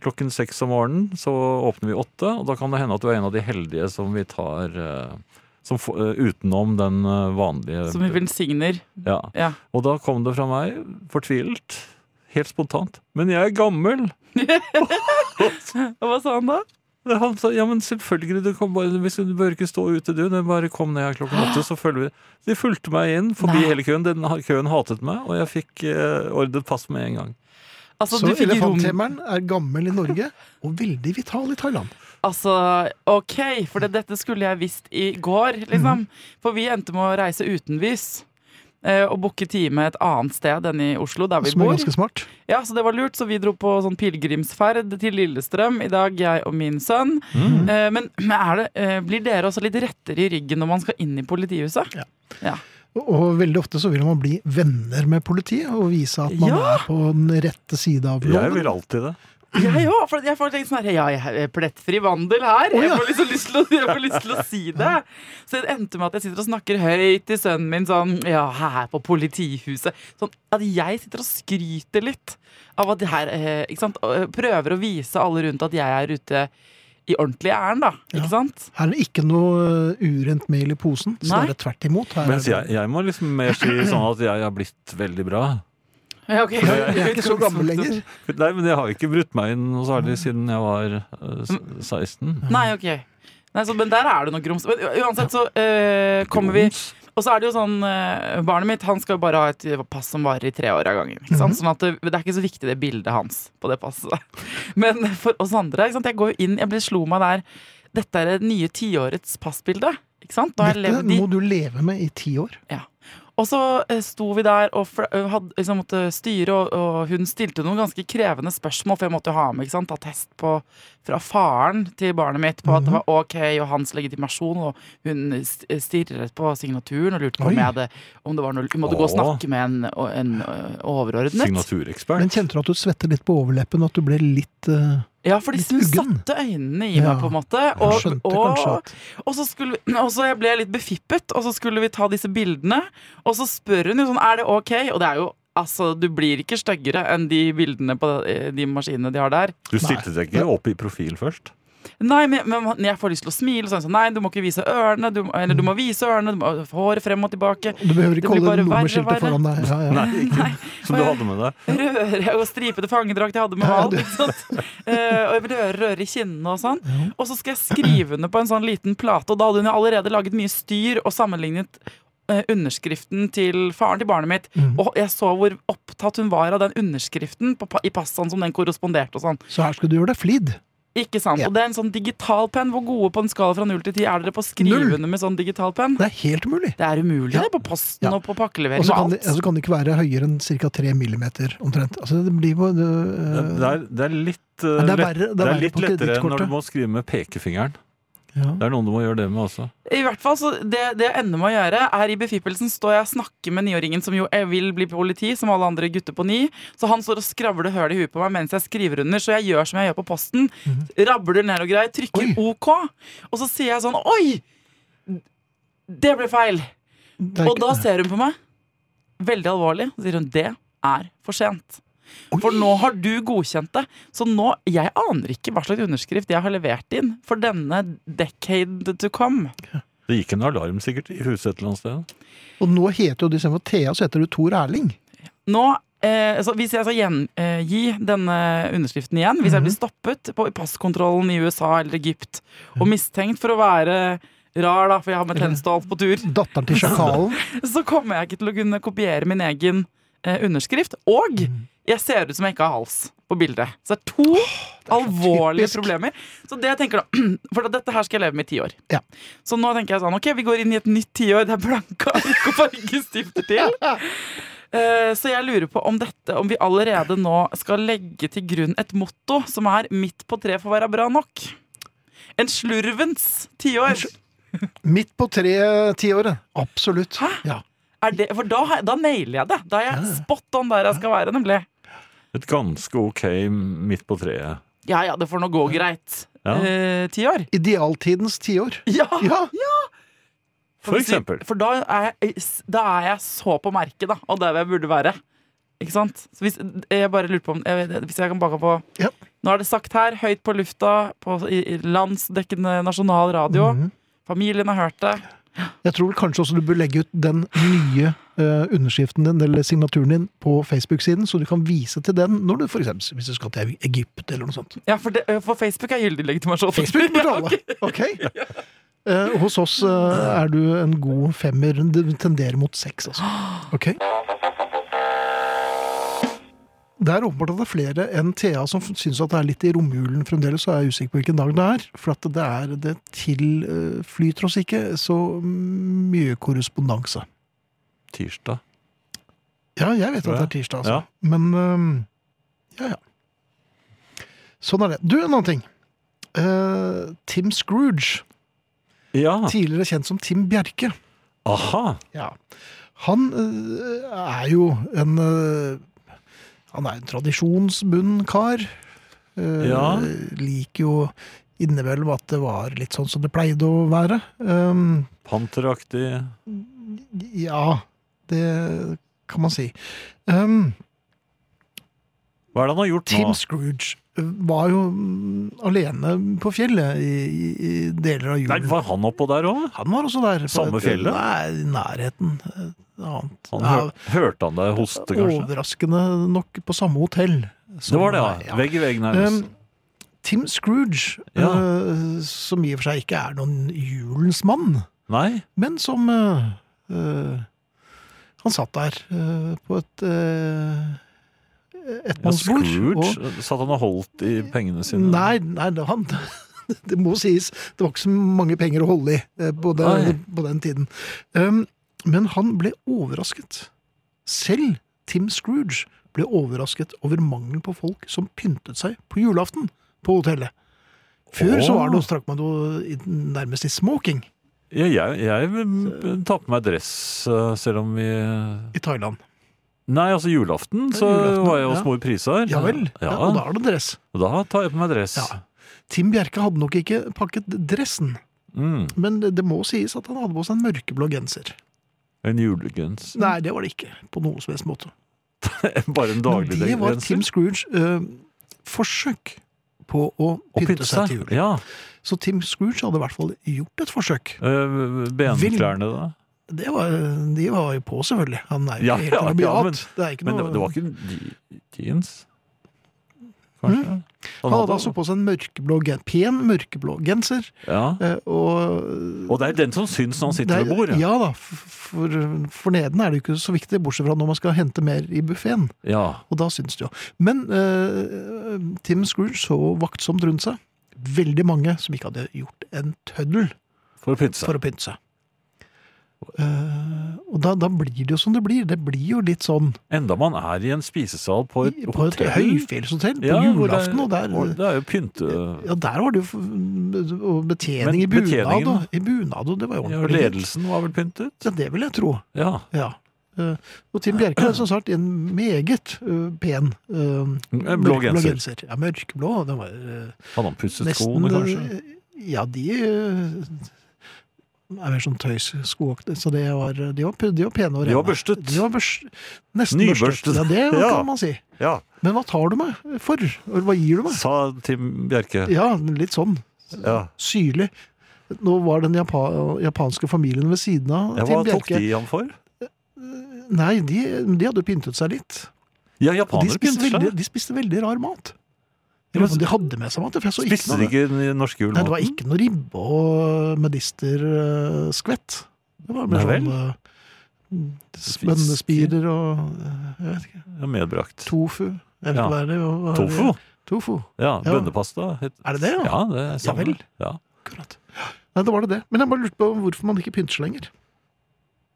Speaker 3: Klokken seks om morgenen så åpner vi åtte, og da kan det hende at du er en av de heldige som vi tar eh, som få- eh, utenom den eh, vanlige
Speaker 4: Som vi velsigner.
Speaker 3: ja.
Speaker 4: Ja.
Speaker 3: Og da kom det fra meg, fortvilt, helt spontant, men jeg er gammel.
Speaker 4: Og hva sa han da?
Speaker 3: Det- Han sa ja, men selvfølgelig, du, kan bare, hvis du bør ikke stå ute, du. Det bare kom ned her klokken åtte, så følger vi De fulgte meg inn forbi
Speaker 4: Nei.
Speaker 3: hele køen. Den køen hatet meg, og jeg fikk eh, ordret pass med en gang.
Speaker 4: Altså,
Speaker 2: Så
Speaker 4: du fikk rom
Speaker 2: elefanthemmeren er gammel i Norge og veldig vital i Thailand.
Speaker 4: Altså, ok, for det, dette skulle jeg visst i går, liksom.
Speaker 2: Mhm.
Speaker 4: For vi endte med å reise utenbys. eh, Og booke time et annet sted enn i Oslo, der vi
Speaker 2: Som er
Speaker 4: bor.
Speaker 2: ganske smart.
Speaker 4: Ja, Så det var lurt, så vi dro på sånn pilegrimsferd til Lillestrøm i dag, jeg og min sønn.
Speaker 2: Mhm.
Speaker 4: Eh, Men men er det, eh, blir dere også litt rettere i ryggen når man skal inn i politihuset?
Speaker 2: Ja.
Speaker 4: ja.
Speaker 2: Og- Og veldig ofte så vil man bli venner med politiet og vise at man
Speaker 4: Ja!
Speaker 2: er på den rette side av
Speaker 3: Jeg
Speaker 2: loven.
Speaker 3: vil alltid det.
Speaker 4: Jeg òg. For jeg får tenkt sånn her Ja, jeg er plettfri vandel her. Jeg
Speaker 2: ja.
Speaker 4: får liksom lyst til å, jeg får lyst til å si det. Så det endte med at jeg sitter og snakker høyt til sønnen min sånn Ja, her på politihuset. Sånn at jeg sitter og skryter litt av at det her eh, Ikke sant. og, eh, Prøver å vise alle rundt at jeg er ute i ordentlig ærend, da.
Speaker 2: Ja.
Speaker 4: Ikke sant?
Speaker 2: Her er det ikke noe eh, urent mel i posen,
Speaker 4: Nei.
Speaker 2: snarere tvert imot. Her er
Speaker 3: Mens
Speaker 2: det-
Speaker 3: jeg, jeg må liksom mer si sånn at jeg har blitt veldig bra.
Speaker 4: Ja, ok.
Speaker 2: Jeg er ikke
Speaker 4: *laughs*
Speaker 2: så gammel lenger.
Speaker 3: Nei, men jeg har ikke brutt meg inn noe særlig siden jeg var eh, s- 16.
Speaker 4: Nei, ok. Nei, så, men der er det noe grums. Men u- uansett så eh, kommer vi
Speaker 3: Grums.
Speaker 4: Og så er det jo sånn, eh, Barnet mitt han skal jo bare ha et pass som varer i tre år av gangen. Ikke sant? Sånn at det, det er ikke så viktig det bildet hans på det passet. *laughs* Men for oss andre ikke sant? Jeg går jo inn, jeg ble slo meg der Dette er det nye tiårets passbilde. Ikke sant? Nå har jeg
Speaker 2: Dette
Speaker 4: levd i
Speaker 2: må du leve med i ti år.
Speaker 4: og så eh, sto vi der og fla- eh, hadde, liksom, måtte styre, og, og hun stilte noen ganske krevende spørsmål, for jeg måtte jo ha med ikke sant, attest på, fra faren til barnet mitt på at
Speaker 2: Mhm.
Speaker 4: det var ok, og hans legitimasjon, og hun eh, st- stirret på signaturen og lurte på om,
Speaker 2: Oi.
Speaker 4: jeg hadde, om det var noe Hun måtte gå og
Speaker 3: Åh.
Speaker 4: snakke med en, og- en eh, overordnet.
Speaker 3: Signaturekspert.
Speaker 2: Men kjente du at du svetter litt på overleppen, og at du ble litt eh,
Speaker 4: Ja, for
Speaker 2: litt
Speaker 4: de hun
Speaker 2: uggen?
Speaker 4: satte øynene i
Speaker 2: Ja.
Speaker 4: meg, på en måte.
Speaker 2: Jeg
Speaker 4: Og,
Speaker 2: skjønte
Speaker 4: og,
Speaker 2: kanskje at
Speaker 4: Og så, skulle vi, *clears throat* og så jeg ble litt befippet, og så skulle vi ta disse bildene. Og så spør hun jo sånn, er det ok? Og det er jo, altså, du blir ikke styggere enn de bildene på eh, de maskinene de har der.
Speaker 3: Du stilte deg ikke opp i profil først?
Speaker 4: Nei, men, men man- jeg får lyst til å smile. Sånn, sånn, nei, du må ikke vise ørene. Du, må- eller du må vise ørene. Du må håret frem og tilbake.
Speaker 2: Du behøver
Speaker 4: Det
Speaker 2: ikke
Speaker 4: blir
Speaker 2: holde
Speaker 4: bare verre og
Speaker 2: nummerskiltet
Speaker 4: verre.
Speaker 2: foran deg. Ja, ja.
Speaker 3: Nei, ikke, som du hadde med deg.
Speaker 4: Røre og stripete fangedrakt jeg hadde med
Speaker 2: Ja,
Speaker 4: meg. alt,
Speaker 2: du- *laughs*
Speaker 4: ikke sant? Eh, og jeg vil røre, røre i kinnene og sånn. Og så skal jeg skrive under på en sånn liten plate, og da hadde hun jo allerede laget mye styr og sammenlignet eh, underskriften til faren til barnet mitt.
Speaker 2: Mm.
Speaker 4: Og jeg så hvor opptatt hun var av den underskriften på, pa- i passaen som den korresponderte og sånn.
Speaker 2: Så her skal du gjøre deg flid.
Speaker 4: Ikke sant?
Speaker 2: Ja.
Speaker 4: Og det er en sånn digital penn. Hvor gode på en skala fra null til ti er dere på å skrive
Speaker 2: Null.
Speaker 4: under med sånn digital penn?
Speaker 2: Det er helt umulig.
Speaker 4: Det er umulig
Speaker 2: Ja.
Speaker 4: det, på posten
Speaker 2: Ja.
Speaker 4: og på
Speaker 2: Og
Speaker 4: pakkelevering
Speaker 2: så
Speaker 4: og
Speaker 2: kan, altså,
Speaker 4: alt.
Speaker 2: det- ja, så kan det ikke være høyere enn ca. 3 millimeter omtrent. Altså, det blir jo
Speaker 3: Det
Speaker 2: øh,
Speaker 3: det er, det er litt, eh,
Speaker 2: Men det er
Speaker 3: lett-
Speaker 2: verre- det er
Speaker 3: det er
Speaker 2: verre
Speaker 3: litt
Speaker 2: på
Speaker 3: lettere
Speaker 2: kredittkortet.
Speaker 3: når du må skrive med pekefingeren.
Speaker 2: ja.
Speaker 3: Det er noen du må gjøre det med også.
Speaker 4: I hvert fall, så det, det jeg ender med å gjøre, er i befippelsen står jeg og snakker med niåringen, som jo jeg vil bli politi, som alle andre gutter på ni. Så han står og skravler høl i huet på meg mens jeg skriver under, så jeg gjør som jeg gjør på posten. Rabler ned og greier, trykker
Speaker 2: Mhm. Oi.
Speaker 4: OK, og så sier jeg sånn Oi! Det ble feil!
Speaker 2: Det er
Speaker 4: Og
Speaker 2: ikke-
Speaker 4: da ser hun på meg, veldig alvorlig, og sier hun det er for sent.
Speaker 2: Oi.
Speaker 4: For nå har du godkjent det. Så nå, jeg aner ikke hva slags underskrift jeg har levert inn for denne decade to come.
Speaker 3: Det gikk en alarm sikkert i huset et eller annet sted.
Speaker 2: Og nå heter jo du istedenfor Thea, så heter du Tor Erling.
Speaker 4: Nå, eh, så hvis jeg skal gjengi eh, gi denne underskriften igjen, hvis jeg blir stoppet på passkontrollen i USA eller Egypt og mistenkt for å være rar, da, for jeg har med tennstål på tur,
Speaker 2: Datteren til sjakalen.
Speaker 4: så kommer jeg ikke til å kunne kopiere min egen eh, underskrift. Og jeg ser ut som jeg ikke har hals på bildet. Så det er to alvorlige
Speaker 2: typisk.
Speaker 4: problemer. Så det jeg tenker da, *clears throat* For at dette her skal jeg leve med i ti år.
Speaker 2: Ja.
Speaker 4: Så nå tenker jeg sånn Ok, vi går inn i et nytt tiår. Det er blanke ark og *laughs* fargestifter til. Eh, Så jeg lurer på om dette Om vi allerede nå skal legge til grunn et motto som er 'midt på treet får være bra nok'. En slurvens tiår.
Speaker 2: Midt på tre eh, tiåret. Absolutt.
Speaker 4: Hæ?
Speaker 2: Ja.
Speaker 4: Er det, for da, har- da nailer jeg det. Da er
Speaker 2: Ja, ja.
Speaker 4: jeg spot on der jeg skal være, nemlig.
Speaker 3: Et ganske ok midt på treet.
Speaker 4: Ja ja, det får nå gå greit.
Speaker 3: Ja.
Speaker 4: Eh, Tiår.
Speaker 2: Idealtidens tiår.
Speaker 4: Ja.
Speaker 2: Ja.
Speaker 3: For eksempel.
Speaker 4: For da er, jeg, eh, da er jeg så på merket, da, og der hvor jeg burde være. Ikke sant? Så hvis, eh, jeg bare lurer på om jeg, vet- Hvis jeg kan bake på
Speaker 2: Ja.
Speaker 4: Nå er det sagt her, høyt på lufta, på i, i landsdekkende nasjonal radio.
Speaker 2: Mhm.
Speaker 4: Familien har hørt det.
Speaker 2: Jeg tror vel kanskje også du bør legge ut den nye eh, underskriften din, eller signaturen din, på Facebook-siden, så du kan vise til den når du for eksempel, hvis du skal til Egypt eller noe sånt.
Speaker 4: Ja, for, det, eh, for Facebook er gyldig legitimasjon.
Speaker 2: Facebook burde
Speaker 4: Ja,
Speaker 2: alle.
Speaker 4: *laughs*
Speaker 2: *laughs*
Speaker 4: ok.
Speaker 2: Ok. Eh, hos oss eh, er du en god femmer. Du tenderer mot seks,
Speaker 4: *gasps*
Speaker 2: altså. Ok. Det er åpenbart at det er flere enn Thea som syns at det er litt i romjulen fremdeles. så er jeg usikker på hvilken dag det er. For at det er det tilflyter oss ikke så mye korrespondanse.
Speaker 3: Tirsdag.
Speaker 2: Ja, jeg vet at
Speaker 3: Tror
Speaker 2: det
Speaker 3: jeg.
Speaker 2: er tirsdag, altså. Men øhm, ja, ja. Sånn er det. Du, en annen ting. Eh, Tim Scrooge,
Speaker 3: Ja.
Speaker 2: *laughs* tidligere kjent som Tim Bjerke.
Speaker 3: Aha!
Speaker 2: Han øh, er jo en øh, Han er en tradisjonsbunden kar. Eh,
Speaker 3: Ja.
Speaker 2: Liker jo innimellom at det var litt sånn som det pleide å være. Um,
Speaker 3: Panteraktig.
Speaker 2: ja, det kan man si. Um,
Speaker 3: Hva er det han har gjort
Speaker 2: Tim
Speaker 3: nå?
Speaker 2: Scrooge ø, var jo mm, alene på fjellet i, i- i deler av
Speaker 3: Nei,
Speaker 2: julen.
Speaker 3: var han oppå der òg?
Speaker 2: han var også der. på
Speaker 3: Samme
Speaker 2: et-
Speaker 3: fjellet?
Speaker 2: Nei, i nærheten. eh, Et annet.
Speaker 3: Han
Speaker 2: Ja,
Speaker 3: hør, hørte han deg hoste, kanskje?
Speaker 2: overraskende nok på samme hotell. som-
Speaker 3: Det var det, ja. Vegg i vegg nærmest.
Speaker 2: sånn, Um, Tim Scrooge,
Speaker 3: Ja.
Speaker 2: ø, som i og for seg ikke er noen julens mann,
Speaker 3: Nei?
Speaker 2: men som ø, ø, Han satt der ø, på et uh,
Speaker 3: Ja,
Speaker 2: ettmannsbord. og-
Speaker 3: Scrooge? Satt han og holdt i pengene sine?
Speaker 2: Nei, nei det, han, *laughs* det må sies. Det var ikke så mange penger å holde i eh, på
Speaker 3: Nei.
Speaker 2: den, på den tiden. Um, men han ble overrasket. Selv Tim Scrooge ble overrasket over mangelen på folk som pyntet seg på julaften på hotellet. Før så var det noe, strakk man noe i, nærmest i smoking
Speaker 3: Ja, jeg, jeg tar på meg dress, eh, selv om vi
Speaker 2: i Thailand.
Speaker 3: Nei, altså julaften, så
Speaker 2: julaften,
Speaker 3: var jeg hos
Speaker 2: ja.
Speaker 3: mor Prisar.
Speaker 2: Ja vel. Ja, og da
Speaker 3: Ja,
Speaker 2: er det dress.
Speaker 3: og da tar jeg på meg dress.
Speaker 2: Ja. Tim Bjerke hadde nok ikke pakket dressen,
Speaker 3: Mm,
Speaker 2: men det det må sies at han hadde på seg en mørkeblå genser.
Speaker 3: en julegens.
Speaker 2: Nei, det var det ikke. På noen som helst måte.
Speaker 3: *laughs* Bare en
Speaker 2: Men
Speaker 3: daglig
Speaker 2: det var
Speaker 3: genser.
Speaker 2: Tim Scrooge eh, forsøk på å
Speaker 3: Og
Speaker 2: pynte seg til jul.
Speaker 3: Ja.
Speaker 2: Så Tim Scrooge hadde i hvert fall gjort et forsøk.
Speaker 3: øh, Benklærne, da?
Speaker 2: Det var, de var jo på, selvfølgelig. Han er jo
Speaker 3: Ja,
Speaker 2: helt
Speaker 3: ja, ja,
Speaker 2: rabiat.
Speaker 3: men-
Speaker 2: det er ikke
Speaker 3: Men
Speaker 2: noe... Mm.
Speaker 3: det, det var ikke je- jeans? Kanskje?
Speaker 2: han hadde altså på seg en mørkeblå, gen- pen mørkeblå genser.
Speaker 3: ja.
Speaker 2: eh, Og
Speaker 3: Og det er den som syns når han sitter
Speaker 2: Det
Speaker 3: ved
Speaker 2: er-
Speaker 3: bordet.
Speaker 2: Ja da, for, for neden er det jo ikke så viktig, bortsett fra når man skal hente mer i buffeen.
Speaker 3: Ja.
Speaker 2: Og da syns det jo. Men eh, Tim Scrooge så vaktsomt rundt seg. Veldig mange som ikke hadde gjort en tøddel
Speaker 3: For å pynte seg.
Speaker 2: for å pynte seg. Eh, og da, da blir det jo som det blir. Det blir jo litt sånn
Speaker 3: Enda man er i en spisesal på et
Speaker 2: på et
Speaker 3: hotell.
Speaker 2: høyfjellshotell på
Speaker 3: Ja, hvor det er-
Speaker 2: julaften, og der
Speaker 3: hvor Det er jo pynte...
Speaker 2: ja, der var det jo f- og betjening
Speaker 3: Men
Speaker 2: i bunad,
Speaker 3: betjeningen-
Speaker 2: og, i bunad, og det var jo
Speaker 3: Ja,
Speaker 2: ordentlig. fint.
Speaker 3: ledelsen var vel pyntet?
Speaker 2: Ja, det vil jeg tro.
Speaker 3: Ja.
Speaker 2: Ja. Eh, og Tim Bjerke er som sagt en meget eh, pen eh,
Speaker 3: Blå genser.
Speaker 2: Ja, mørkblå. Den var eh,
Speaker 3: Hadde han pusset
Speaker 2: nesten
Speaker 3: skoene, kanskje?
Speaker 2: eh, Ja, de eh, er mer sånn tøysskoaktige, så det var, de, var, pu- de var pene og
Speaker 3: De
Speaker 2: rene.
Speaker 3: var børstet.
Speaker 2: De var børs, nesten
Speaker 3: Nybørstet.
Speaker 2: børstet. Ja,
Speaker 3: *laughs*
Speaker 2: det
Speaker 3: Ja.
Speaker 2: kan man si.
Speaker 3: Ja,
Speaker 2: Men hva tar du meg for? Eller hva gir du meg?
Speaker 3: sa Tim Bjerke.
Speaker 2: Ja, litt sånn.
Speaker 3: Ja.
Speaker 2: Syrlig. Nå var den japa japanske familien ved siden av
Speaker 3: Ja, hva
Speaker 2: Tim
Speaker 3: tok
Speaker 2: Bjerke.
Speaker 3: de ham for?
Speaker 2: Nei, de, de hadde jo pyntet seg litt.
Speaker 3: Ja,
Speaker 2: Og de
Speaker 3: japanere
Speaker 2: spiste,
Speaker 3: pynter
Speaker 2: veldig,
Speaker 3: seg.
Speaker 2: de spiste veldig rar mat.
Speaker 3: Ja,
Speaker 2: Jeg lurer
Speaker 3: men
Speaker 2: på om de hadde med seg mat. For jeg så ikke
Speaker 3: Spiste de
Speaker 2: noe.
Speaker 3: ikke den norske
Speaker 2: Nei, det var
Speaker 3: julematen?
Speaker 2: ikke noe ribbe og medisterskvett. Det var mer
Speaker 3: Nei
Speaker 2: sånn
Speaker 3: vel.
Speaker 2: eh, Bønnespirer og eh, jeg vet ikke,
Speaker 3: Ja, medbrakt.
Speaker 2: tofu. Jeg vet
Speaker 3: Ja.
Speaker 2: ikke hva er det hva er. det?
Speaker 3: Tofu?
Speaker 2: Tofu.
Speaker 3: Ja,
Speaker 2: Ja.
Speaker 3: bønnepasta. het-
Speaker 2: Er det det? Ja,
Speaker 3: Ja, det er samme.
Speaker 2: vel.
Speaker 3: Ja.
Speaker 2: akkurat. Nei, det var det det. Men jeg bare lurte på hvorfor man ikke pynter seg lenger.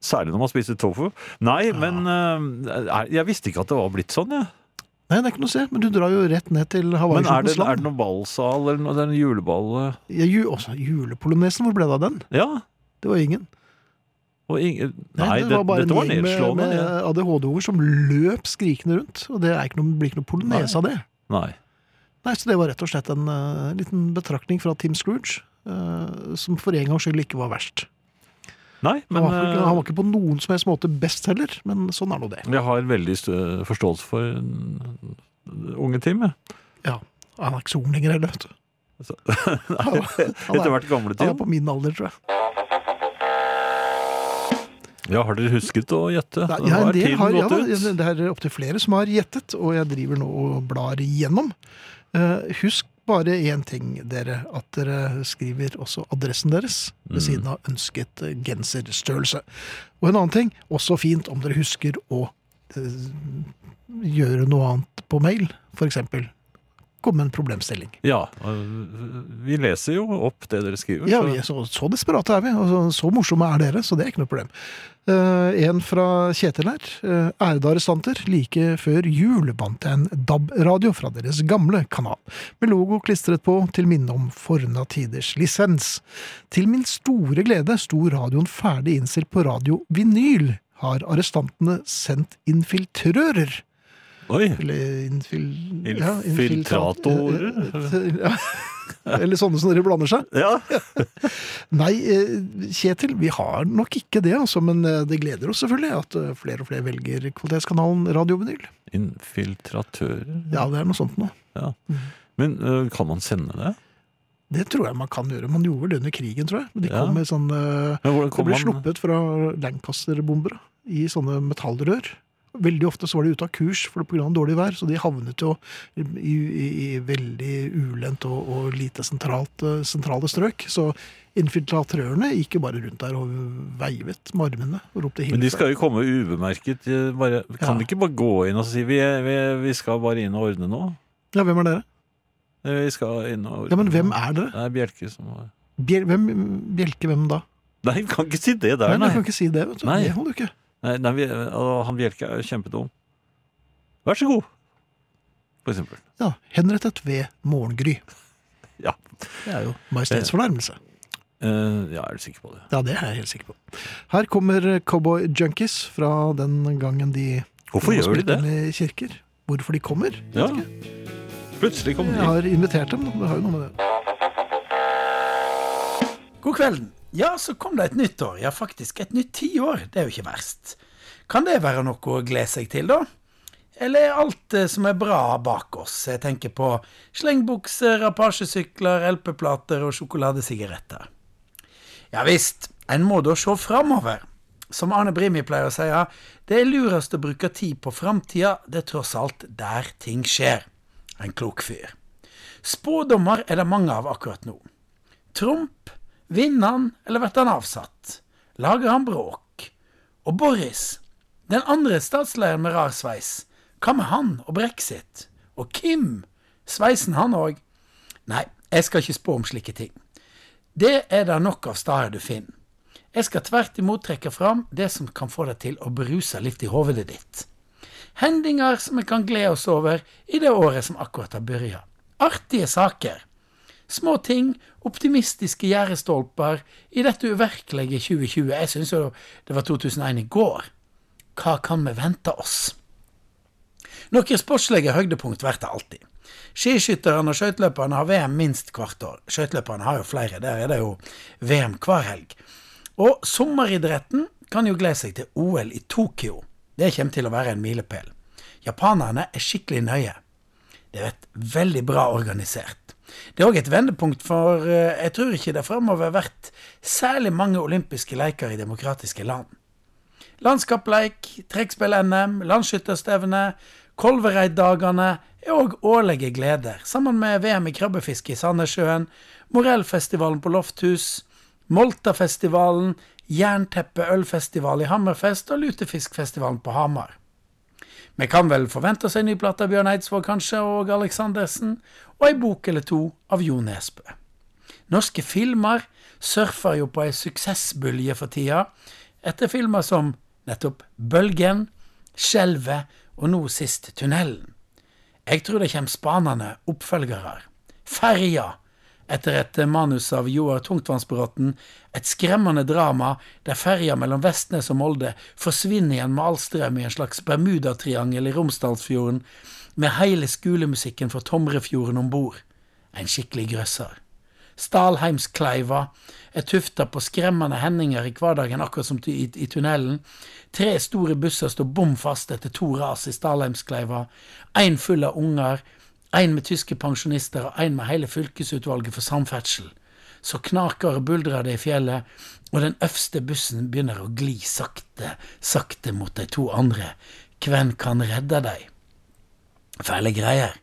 Speaker 3: Særlig når man spiser tofu. Nei, men eh, er- jeg visste ikke at det var blitt sånn, jeg.
Speaker 2: Nei, det liksom er ikke noe å se, men du drar jo rett ned til
Speaker 3: Men er det,
Speaker 2: Hawaii-sluttens
Speaker 3: er det
Speaker 2: land.
Speaker 3: noen ballsal eller noe, det er en juleball eh?
Speaker 2: Ja, ju, også, julepolonesen, hvor ble det av den?
Speaker 3: Ja.
Speaker 2: Det var ingen.
Speaker 3: Og ingen, nei,
Speaker 2: Nei, det var bare
Speaker 3: dette var
Speaker 2: en gjeng med,
Speaker 3: nedslående.
Speaker 2: med
Speaker 3: ja.
Speaker 2: ADHD-unger som løp skrikende rundt. Og det er ikke noe, blir ikke noe polonese av det.
Speaker 3: Nei.
Speaker 2: Nei, Så det var rett og slett en eh, liten betraktning fra Tim Scrooge, eh, som for en gangs skyld ikke var verst.
Speaker 3: nei, men
Speaker 2: han, var ikke,
Speaker 3: eh,
Speaker 2: han var ikke på noen som helst måte best heller, men sånn er nå det.
Speaker 3: jeg har veldig stø- forståelse for mm, unge Tim. jeg.
Speaker 2: Ja, Han er ikke så ung lenger heller,
Speaker 3: *laughs*
Speaker 2: vet du.
Speaker 3: Altså,
Speaker 2: *laughs* Han, han,
Speaker 3: *laughs* Etter
Speaker 2: er,
Speaker 3: hvert gamle
Speaker 2: han er
Speaker 3: Tim.
Speaker 2: på min alder, tror jeg.
Speaker 3: Ja, har dere husket å gjette?
Speaker 2: Nei,
Speaker 3: Nå
Speaker 2: ja, en
Speaker 3: er
Speaker 2: del
Speaker 3: tiden
Speaker 2: har, ja,
Speaker 3: gått
Speaker 2: da,
Speaker 3: ut.
Speaker 2: det er opptil flere som har gjettet, og jeg driver nå og blar igjennom. Eh, husk bare én ting, dere, at dere skriver også adressen deres ved
Speaker 3: Mm.
Speaker 2: siden av ønsket eh, genserstørrelse. Og en annen ting, også fint om dere husker å eh, gjøre noe annet på mail, f.eks. Komme med en problemstilling.
Speaker 3: Ja, og vi leser jo opp det dere skriver.
Speaker 2: Ja,
Speaker 3: så-
Speaker 2: vi er så, så desperate er vi, og så, så morsomme er dere, så det er ikke noe problem. Eh, en fra Kjetil her. Uh, Ærede arrestanter, like før jul vant jeg en DAB-radio fra deres gamle kanal, med logo klistret på til minne om forna tiders lisens. Til min store glede sto radioen ferdig innstilt på radio vinyl. Har arrestantene sendt infiltrører?
Speaker 3: Oi,
Speaker 2: Eller infil... ja, infiltrat-
Speaker 3: Infiltratorer?
Speaker 2: *laughs* Ja, eller sånne som dere blander seg.
Speaker 3: ja.
Speaker 2: Nei, eh, Kjetil, vi har nok ikke det, altså, men eh, det gleder oss selvfølgelig at eh, flere og flere velger kvalitetskanalen Radio Vinyl.
Speaker 3: Infiltratører?
Speaker 2: Ja, det er noe sånt nå.
Speaker 3: Men øh, kan man sende det?
Speaker 2: Det tror jeg man kan gjøre. Man gjorde vel det under krigen, tror jeg. Men de
Speaker 3: Ja.
Speaker 2: kom med sånn eh,
Speaker 3: Men hvordan
Speaker 2: Det
Speaker 3: kommer
Speaker 2: ble
Speaker 3: man-
Speaker 2: sluppet fra Lancaster-bombere i sånne metallrør. Veldig ofte så var de ute av kurs for det på grunn av dårlig vær, så de havnet jo i, i, i veldig ulendt og, og lite sentralt, eh, sentrale strøk. Så infiltratrørene gikk jo bare rundt der og veivet med armene og ropte
Speaker 3: Men de
Speaker 2: hilsen.
Speaker 3: skal jo komme ubemerket. eh, Bare, kan
Speaker 2: Ja.
Speaker 3: de ikke bare gå inn og si vi, vi, vi skal bare inn og ordne nå?
Speaker 2: Ja, hvem er dere?
Speaker 3: Eh, Vi skal inn og ordne
Speaker 2: Ja, men hvem
Speaker 3: nå.
Speaker 2: er dere?
Speaker 3: Det er Bjelke som var
Speaker 2: Bjel hvem, bjelke hvem da?
Speaker 3: Nei, vi kan ikke si det
Speaker 2: Nei,
Speaker 3: der,
Speaker 2: Du
Speaker 3: nei.
Speaker 2: kan ikke si det, vet du.
Speaker 3: Nei.
Speaker 2: Det holder du ikke.
Speaker 3: nei, nei vi, å, han Bjelke er jo kjempedum. Vær så god, for eksempel.
Speaker 2: Ja, Henrettet ved morgengry.
Speaker 3: Ja.
Speaker 2: Det er jo majestetsfornærmelse.
Speaker 3: Eh, ja, er du sikker på det?
Speaker 2: Ja, det er jeg helt sikker på. Her kommer Cowboy Junkies fra den gangen de
Speaker 3: Hvorfor
Speaker 2: de
Speaker 3: gjør de
Speaker 2: spilte
Speaker 3: det?
Speaker 2: i kirker. Hvorfor de kommer? vet
Speaker 3: Ja.
Speaker 2: ikke.
Speaker 3: Plutselig kom
Speaker 2: Jeg
Speaker 3: de.
Speaker 2: har invitert dem, da. det har jo noe med det.
Speaker 5: God kvelden. Ja, så kom det et nytt år. Ja, faktisk et nytt tiår. Det er jo ikke verst. Kan det være noe å glede seg til, da? Eller alt eh, som er bra bak oss. Jeg tenker på slengbukser, apasjesykler, LP-plater og sjokoladesigaretter. Ja visst, en må da se framover. Som Arne Brimi pleier å si, det er lurest å bruke tid på framtida, det er tross alt der ting skjer. En klok fyr. Spådommer er det mange av akkurat nå. Trump, vinner han, eller blir han avsatt? Lager han bråk? Og Boris, den andre statslederen med rar sveis, hva med han og brexit? Og Kim, sveisen han òg? Nei, jeg skal ikke spå om slike ting. Det er det nok av steder du finner. Jeg skal tvert imot trekke fram det som kan få deg til å beruse litt i hovedet ditt. Hendinger som vi kan glede oss over i det året som akkurat har begynt. Artige saker. Små ting, optimistiske gjerdestolper i dette uvirkelige 2020. Jeg syns jo det var 2001 i går. Hva kan vi vente oss? Noen sportslige høydepunkt blir det alltid. Skiskytterne og skøyteløperne har VM minst hvert år. Skøyteløperne har jo flere, der er det jo VM hver helg. Og sommeridretten kan jo glede seg til OL i Tokyo. Det kommer til å være en milepæl. Japanerne er skikkelig nøye. Det er et veldig bra organisert. Det er òg et vendepunkt, for eh, jeg tror ikke det framover har vært særlig mange olympiske leker i demokratiske land. Landskapleik, trekkspill-NM, landsskytterstevne, Kolvereid-dagene er òg årlige gleder, sammen med VM i krabbefiske i Sandnessjøen, Morellfestivalen på Lofthus, Moltafestivalen, Jernteppe-ølfestival i Hammerfest og Lutefiskfestivalen på Hamar. Vi kan vel forvente oss en ny plate av Bjørn Eidsvåg kanskje, og Aleksandersen, og ei bok eller to av Jo Nesbø. Norske filmer surfer jo på ei suksessbølge for tida, etter filmer som nettopp Bølgen, Skjelvet og nå sist Tunnelen. Jeg tror det kommer spanende oppfølgere. Ferja, etter et manus av Joar Tungtvannsbråten, et skremmende drama der ferja mellom Vestnes og Molde forsvinner igjen med all strøm i en slags Bermudatriangel i Romsdalsfjorden, med hele skolemusikken fra Tomrefjorden om bord. En skikkelig grøsser. Stalheimskleiva er tufta på skremmende hendinger i hverdagen, akkurat som i, i tunnelen. Tre store busser står bom fast etter to ras i Stalheimskleiva. Én full av unger, én med tyske pensjonister og én med hele fylkesutvalget for samferdsel. Så knaker og buldrer det i fjellet, og den øverste bussen begynner å gli sakte, sakte mot de to andre. Hvem kan redde dem? Fæle greier.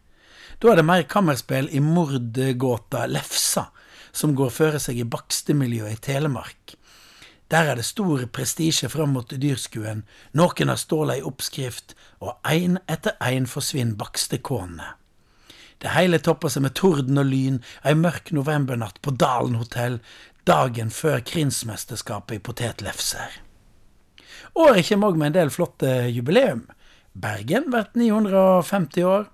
Speaker 5: Da er det mer kammerspill i mordgåta Lefsa, som går føre seg i bakstemiljøet i Telemark. Der er det stor prestisje fram mot dyrskuen, noen har ståla i oppskrift, og én etter én forsvinner bakstekånene. Det hele topper seg med torden og lyn ei mørk novembernatt på Dalen hotell, dagen før Krinsmesterskapet i potetlefser. Året kommer òg med en del flotte jubileum. Bergen blir 950 år.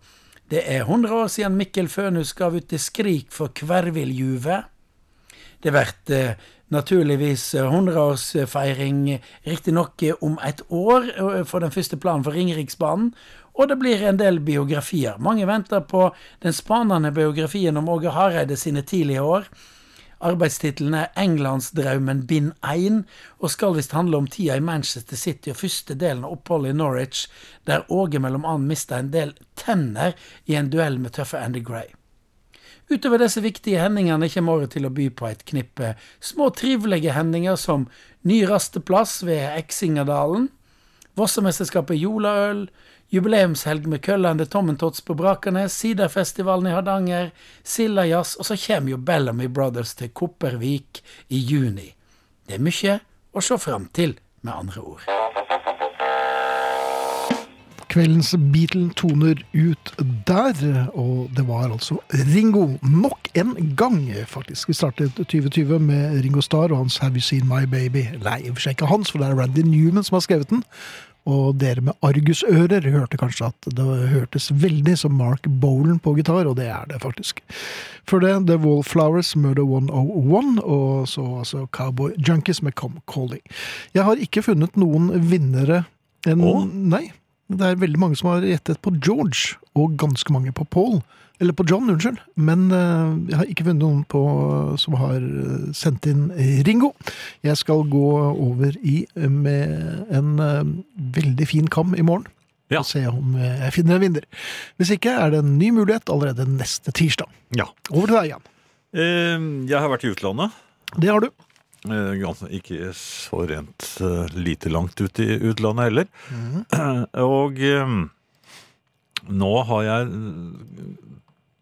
Speaker 5: Det er 100 år siden Mikkel Fønhus gav ut til Skrik for Kverviljuve. Det blir eh, naturligvis eh, 100-årsfeiring, riktignok eh, om et år, eh, for den første planen for Ringeriksbanen. Og det blir en del biografier. Mange venter på den spanende biografien om Åge Hareide sine tidlige år. Arbeidstittelen er 'Englandsdraumen bind 1', og skal visst handle om tida i Manchester City og første delen av oppholdet i Norwich, der Åge mellom annet mista en del tenner i en duell med tøffe Andy Gray. Utover disse viktige hendingene kommer året til å by på et knippe små trivelige hendinger som ny rasteplass ved Eksingerdalen, Vossemesterskapet Jolaøl, jubileumshelg med Køllande Tommentots på Brakernes, Siderfestivalen i Hardanger, Sildajazz, og så kommer jo Bellamy Brothers til Kopervik i juni. Det er mye å se fram til, med andre ord.
Speaker 2: Kveldens Beatle toner ut der, og det var altså Ringo nok en gang, faktisk. Vi startet 2020 med Ringo Starr og hans Have You Seen My Baby? Nei, i og for seg ikke hans, for det er Randy Newman som har skrevet den. Og dere med argusører hørte kanskje at det hørtes veldig som Mark Bolan på gitar, og det er det faktisk. Før det The Wallflowers, Murder 101, og så altså Cowboy Junkies med Come Calling. Jeg har ikke funnet noen vinnere enn
Speaker 3: Å?
Speaker 2: Nei. Det er veldig mange som har gjettet på George, og ganske mange på Paul. Eller på John, unnskyld. Men eh, jeg har ikke funnet noen på, som har eh, sendt inn Ringo. Jeg skal gå over i med en eh, veldig eh, fin kam i morgen.
Speaker 3: Ja.
Speaker 2: og se om eh, jeg finner en vinner. Hvis ikke er det en ny mulighet allerede neste tirsdag.
Speaker 3: Ja.
Speaker 2: Over til deg, Jan.
Speaker 3: Eh, Jeg har vært i utlandet.
Speaker 2: Det har du.
Speaker 3: Eh, gans- Ikke så rent eh, lite langt ut i utlandet heller.
Speaker 2: Mhm.
Speaker 3: Og eh, nå har jeg eh,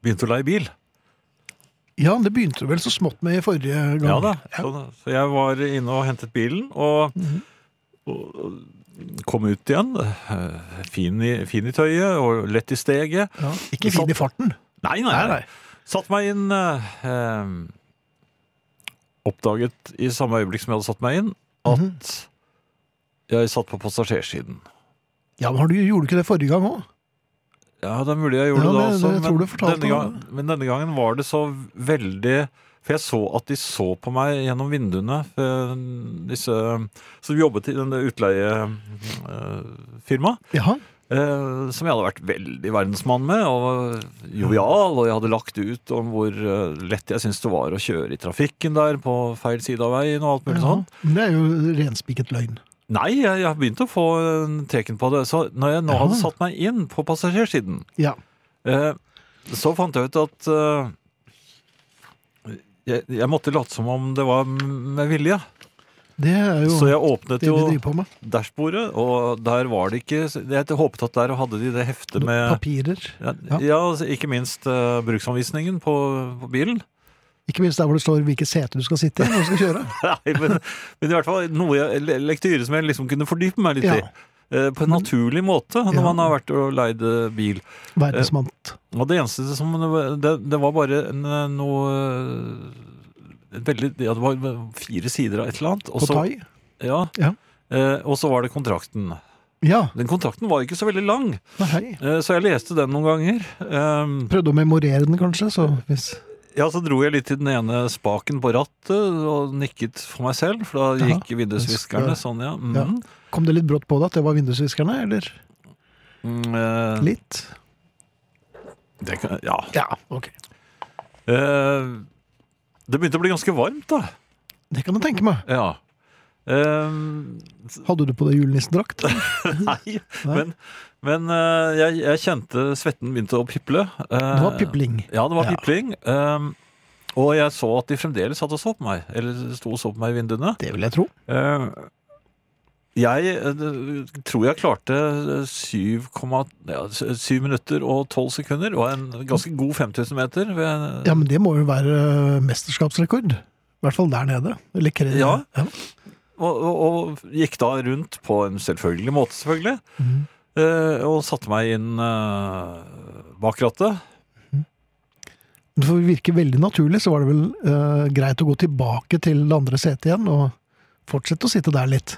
Speaker 3: begynt å leie bil.
Speaker 2: Ja, det begynte du vel så smått med i forrige gang.
Speaker 3: Ja da. Så, så jeg var inne og hentet bilen, og, og, og kom ut igjen. eh, Fin i, fin i tøyet og lett i steget.
Speaker 2: Ja, Ikke fin i farten.
Speaker 3: Nei, nei,
Speaker 2: Nei,
Speaker 3: nei.
Speaker 2: nei.
Speaker 3: Satt meg inn eh, eh, Oppdaget i samme øyeblikk som jeg hadde satt meg inn, at
Speaker 2: Mhm.
Speaker 3: jeg satt på passasjersiden.
Speaker 2: Ja, men har du, Gjorde du ikke det forrige gang òg?
Speaker 3: Ja, det er mulig jeg gjorde
Speaker 2: Ja,
Speaker 3: det,
Speaker 2: det-
Speaker 3: også,
Speaker 2: det- jeg tror du fortalte
Speaker 3: denne
Speaker 2: om
Speaker 3: gang, men denne gangen var det så veldig For jeg så at de så på meg gjennom vinduene, eh, disse som jobbet i denne utleiefirmaet.
Speaker 2: Ja.
Speaker 3: Eh, som jeg hadde vært veldig verdensmann med, og jovial. Og jeg hadde lagt ut om hvor eh, lett jeg syntes det var å kjøre i trafikken der på feil side av veien og alt mulig
Speaker 2: ja.
Speaker 3: sånn.
Speaker 2: Men Det er jo renspikket løgn.
Speaker 3: Nei, jeg, jeg har begynt å få eh, teken på det. Så når jeg nå hadde satt meg inn på passasjersiden,
Speaker 2: Ja.
Speaker 3: eh, så fant jeg ut at eh, jeg, jeg måtte late som om det var med vilje.
Speaker 2: Det er jo
Speaker 3: Så jeg åpnet
Speaker 2: det vi
Speaker 3: jo
Speaker 2: driver på med.
Speaker 3: dashbordet, og der var det ikke Jeg håpet at der hadde de det heftet med
Speaker 2: Papirer.
Speaker 3: Ja,
Speaker 2: Ja.
Speaker 3: ja altså, ikke minst eh, bruksanvisningen på, på bilen. *laughs*
Speaker 2: Ikke minst der hvor det står hvilket sete du skal sitte i når du skal
Speaker 3: *laughs*
Speaker 2: kjøre.
Speaker 3: Nei, men, men i hvert fall noe jeg, le- lektyre som jeg liksom kunne fordype meg litt
Speaker 2: Ja.
Speaker 3: i. Eh, På en naturlig måte, når
Speaker 2: Ja.
Speaker 3: man har vært og leid eh, bil.
Speaker 2: Verdensmant.
Speaker 3: Og det eneste som Det, det var bare en, eh, noe eh, et veldig, ja, Det var fire sider av et eller annet. og
Speaker 2: På
Speaker 3: så-
Speaker 2: thai.
Speaker 3: Ja,
Speaker 2: Ja.
Speaker 3: Eh, og så var det kontrakten.
Speaker 2: Ja.
Speaker 3: Den kontrakten var ikke så veldig lang,
Speaker 2: Nei, hei.
Speaker 3: eh, så jeg leste den noen ganger. Eh,
Speaker 2: Prøvde å memorere den, kanskje. Så hvis
Speaker 3: Ja, så dro jeg litt til den ene spaken på rattet og nikket for meg selv, for da
Speaker 2: Jaha.
Speaker 3: gikk vindusviskerne sånn, ja. Mm.
Speaker 2: Ja. Kom det litt brått på deg at det var vindusviskerne, eller?
Speaker 3: Mm, eh,
Speaker 2: Litt?
Speaker 3: det kan, ja.
Speaker 2: Ja, ok.
Speaker 3: Eh, det begynte å bli ganske varmt, da.
Speaker 2: Det kan jeg tenke meg.
Speaker 3: Ja. Eh,
Speaker 2: Hadde du på deg julenissedrakt?
Speaker 3: *laughs* nei, men, men eh, jeg, jeg kjente svetten begynte å piple. Eh,
Speaker 2: Det var pipling.
Speaker 3: Ja, det var
Speaker 2: Ja.
Speaker 3: pipling. Eh, og jeg så at de fremdeles satt og så på meg, eller sto og så på meg i vinduene.
Speaker 2: Det vil jeg tro.
Speaker 3: Eh, Jeg eh, det- tror jeg klarte 7, ja, 7 minutter og 12 sekunder, og en ganske god 5000 meter. ved-
Speaker 2: Ja, men det må jo være øh, mesterskapsrekord. I hvert fall der nede. Eller kre...
Speaker 3: Ja. Og, og, og gikk da rundt på en selvfølgelig måte, selvfølgelig.
Speaker 2: Mhm.
Speaker 3: eh, Og satte meg inn eh, bak rattet.
Speaker 2: Men For å virke veldig naturlig, så var det vel øh, greit å gå tilbake til det andre setet igjen, og fortsette å sitte der litt.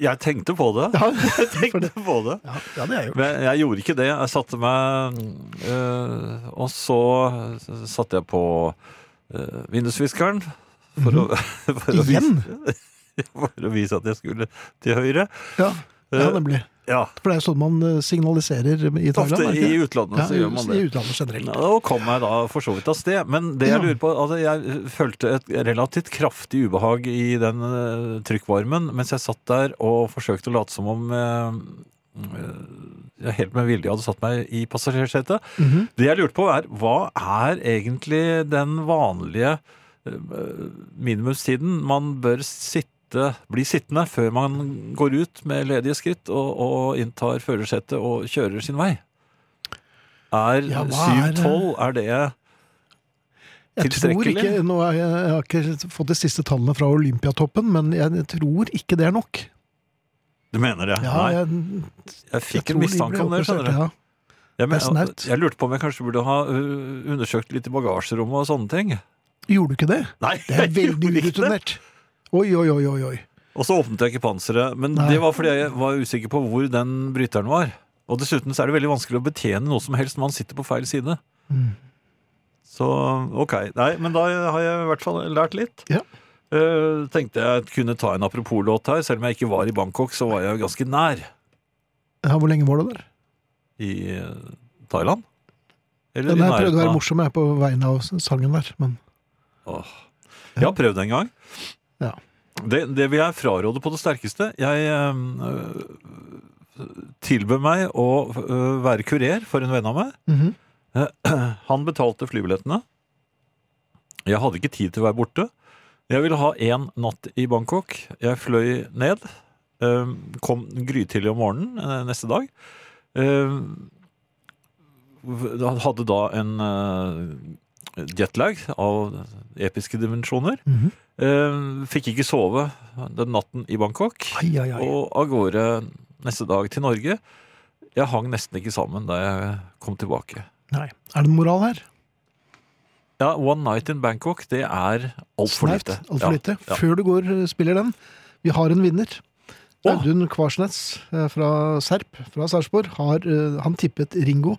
Speaker 3: Jeg tenkte på det.
Speaker 2: Ja,
Speaker 3: Jeg tenkte på det.
Speaker 2: *laughs* ja, ja det er jo
Speaker 3: Men jeg gjorde ikke det. Jeg satte meg øh, Og så satte jeg på øh, vindusviskeren. For, å, *laughs* for, å
Speaker 2: Mhm. Igjen?
Speaker 3: vise, for å vise at jeg skulle til høyre.
Speaker 2: Ja, ja
Speaker 3: Eh,
Speaker 2: nemlig.
Speaker 3: Ja,
Speaker 2: For det er jo sånn man øh, signaliserer i Thailand.
Speaker 3: Ofte
Speaker 2: er det
Speaker 3: i
Speaker 2: ikke det?
Speaker 3: utlandet så gjør man
Speaker 2: Ja, i-
Speaker 3: det.
Speaker 2: I utlandet generelt.
Speaker 3: Ja, og kom meg da for så vidt av sted. Men det
Speaker 2: Ja.
Speaker 3: jeg lurer på altså Jeg følte et relativt kraftig ubehag i den eh, trykkvarmen mens jeg satt der og forsøkte å late som om eh, eh, jeg helt med vilje hadde satt meg i passasjersetet.
Speaker 2: Mhm.
Speaker 3: Det jeg lurte på, er hva er egentlig den vanlige eh, minimumstiden man bør sitte bli sittende før man går ut med ledige skritt og, og inntar førersetet og kjører sin vei? Er
Speaker 2: Ja, hva er det?
Speaker 3: 7-12, er det
Speaker 2: Jeg tror
Speaker 3: Tilstrekkelig?
Speaker 2: ikke, nå har jeg, jeg har ikke fått de siste tallene fra Olympiatoppen, men jeg tror ikke det er nok.
Speaker 3: Du mener det?
Speaker 2: Ja,
Speaker 3: Nei,
Speaker 2: jeg,
Speaker 3: jeg
Speaker 2: jeg
Speaker 3: fikk en
Speaker 2: tror de ble
Speaker 3: mistanke om det,
Speaker 2: oppdatert,
Speaker 3: skjønner du.
Speaker 2: ja.
Speaker 3: Jeg,
Speaker 2: det er
Speaker 3: men-
Speaker 2: snaut.
Speaker 3: jeg lurte på om jeg kanskje burde ha uh, undersøkt litt i bagasjerommet og sånne ting.
Speaker 2: Gjorde du ikke det?
Speaker 3: Nei,
Speaker 2: Det er
Speaker 3: *laughs* jeg
Speaker 2: veldig
Speaker 3: gjorde ikke det.
Speaker 2: urutinert. Oi, oi, oi, oi, oi.
Speaker 3: Og så åpnet jeg ikke panseret, men
Speaker 2: Nei.
Speaker 3: det var fordi jeg var usikker på hvor den bryteren var. Og dessuten så er det veldig vanskelig å betjene noe som helst når man sitter på feil side.
Speaker 2: Mm.
Speaker 3: Så ok. Nei, men da har jeg i hvert fall lært litt.
Speaker 2: Ja.
Speaker 3: Eh, tenkte jeg kunne ta en apropos-låt her. Selv om jeg ikke var i Bangkok, så var jeg ganske nær
Speaker 2: Ja, hvor lenge var du der?
Speaker 3: i eh, Thailand. Eller
Speaker 2: Den
Speaker 3: i
Speaker 2: her prøvde å være
Speaker 3: nærheten av-
Speaker 2: morsom jeg på vegne av sangen der, men
Speaker 3: Åh. Jeg har prøvd en gang.
Speaker 2: Ja.
Speaker 3: Det, det vil jeg fraråde på det sterkeste. Jeg eh, ehm, tilbød meg å øh, være kurer for en venn av meg.
Speaker 2: Mhm.
Speaker 3: Han betalte flybillettene. Jeg hadde ikke tid til å være borte. Jeg ville ha én natt i Bangkok. Jeg fløy ned. øhm, Kom grytidlig om morgenen øh, neste dag. Øhm, v- Hadde da en øh, jetlag av episke dimensjoner.
Speaker 2: Mhm.
Speaker 3: Eh, Fikk ikke sove den natten i Bangkok.
Speaker 2: Ai, ai, ai.
Speaker 3: Og av gårde neste dag til Norge. Jeg hang nesten ikke sammen da jeg kom tilbake.
Speaker 2: Nei. Er det en moral her?
Speaker 3: Ja, One Night in Bangkok, det er altfor
Speaker 2: Snaut,
Speaker 3: lite.
Speaker 2: Altfor lite.
Speaker 3: Ja, ja.
Speaker 2: Før du går, eh, spiller den. Vi har en vinner.
Speaker 3: Å.
Speaker 2: Audun Kvarsnes eh, fra Serp, fra Sarpsborg, har eh, han tippet Ringo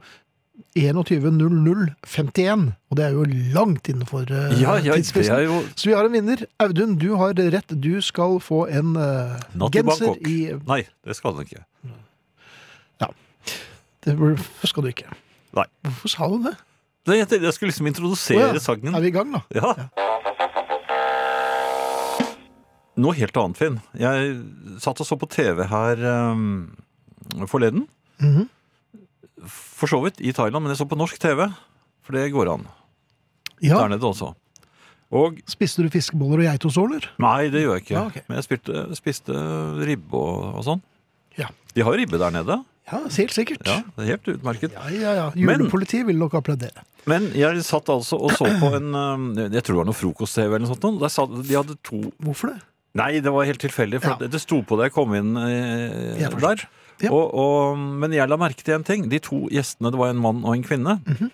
Speaker 2: 21.00,51. Og det er jo langt innenfor eh,
Speaker 3: Ja, ja, det
Speaker 2: tidsfristen.
Speaker 3: er jo
Speaker 2: Så vi har en vinner. Audun, du har rett. Du skal få en eh,
Speaker 3: Natt i
Speaker 2: genser
Speaker 3: Bangkok.
Speaker 2: i
Speaker 3: Nei, det skal den ikke.
Speaker 2: Det hvorfor skal du ikke.
Speaker 3: Nei.
Speaker 2: Hvorfor sa du det?
Speaker 3: Nei, Jeg tenkte jeg skulle liksom introdusere
Speaker 2: Å ja.
Speaker 3: sangen.
Speaker 2: Er vi i gang, da?
Speaker 3: Ja. Noe helt annet, Finn. Jeg satt og så på TV her um, forleden.
Speaker 2: Mhm.
Speaker 3: For så vidt i Thailand, men jeg så på norsk TV. For det går an.
Speaker 2: Ja.
Speaker 3: Der nede også. Og
Speaker 2: Spiste du fiskeboller og geitoståler?
Speaker 3: Nei, det gjør jeg ikke.
Speaker 2: Ja, ok.
Speaker 3: Men jeg spilte, spiste ribbe og, og sånn.
Speaker 2: Ja.
Speaker 3: De har jo ribbe der nede.
Speaker 2: Ja, helt sikkert.
Speaker 3: Ja, det er Helt utmerket.
Speaker 2: Ja, ja, ja.
Speaker 3: Men-
Speaker 2: Julepolitiet vil nok applaudere. Men
Speaker 3: Men jeg satt altså og så på en eh, Jeg tror det var noe frokost-TV eller noe sånt. og Der satt, de hadde to
Speaker 2: hvorfor det?
Speaker 3: Nei, det var helt tilfeldig, for
Speaker 2: Ja.
Speaker 3: det, det sto på da jeg kom inn eh,
Speaker 2: Jeg forstår.
Speaker 3: der.
Speaker 2: Ja.
Speaker 3: Og, og, men jeg la merke til en ting. De to gjestene, det var en mann og en kvinne.
Speaker 2: Mhm.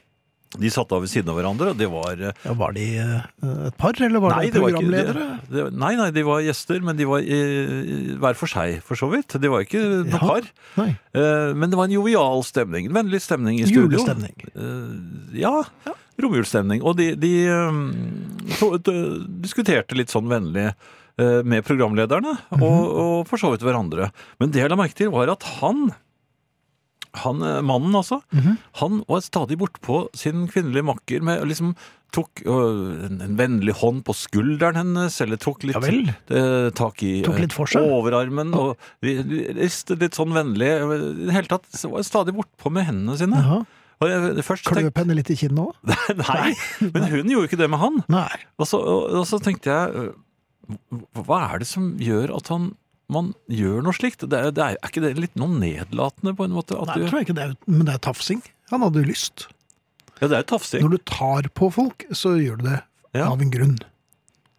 Speaker 3: De satt da ved siden av hverandre, og det var eh,
Speaker 2: Ja, var de eh, et par, eller var
Speaker 3: Nei,
Speaker 2: de
Speaker 3: det var ikke-
Speaker 2: programledere?
Speaker 3: det, det, nei, nei, de var gjester, men de var eh, hver for seg, for så vidt. De var ikke noe
Speaker 2: Ja.
Speaker 3: par.
Speaker 2: Nei.
Speaker 3: Eh, Men det var en jovial stemning. En vennlig stemning i studio.
Speaker 2: Julestemning.
Speaker 3: Eh, Ja. Romjulsstemning. Og de, de eh, to, de diskuterte litt sånn vennlig eh, med programlederne,
Speaker 2: Mhm.
Speaker 3: og, og for så vidt hverandre. Men det jeg la merke til, var at han han, eh, mannen altså,
Speaker 2: Mhm.
Speaker 3: han var stadig bortpå sin kvinnelige makker med å liksom tok øh, en, en vennlig hånd på skulderen hennes, eller tok litt
Speaker 2: Ja vel.
Speaker 3: eh, tak i
Speaker 2: Tok
Speaker 3: eh,
Speaker 2: litt for seg.
Speaker 3: overarmen, og vi- vi ristet litt sånn vennlig. I det hele tatt så var jeg stadig bortpå med hendene sine.
Speaker 2: Jaha.
Speaker 3: Og jeg, først tenkte
Speaker 2: Kløp henne litt i kinnet òg?
Speaker 3: *laughs* Nei, men hun gjorde ikke det med han.
Speaker 2: Nei.
Speaker 3: Og så, og, og så tenkte jeg øh, Hva er det som gjør at han man gjør noe slikt? Det er, det er, er ikke det litt noe nedlatende, på en måte? At
Speaker 2: Nei,
Speaker 3: du,
Speaker 2: tror jeg ikke det er, men det er tafsing. Han hadde jo lyst.
Speaker 3: ja, det er jo tafsing.
Speaker 2: Når du tar på folk, så gjør du det
Speaker 3: Ja.
Speaker 2: av en grunn.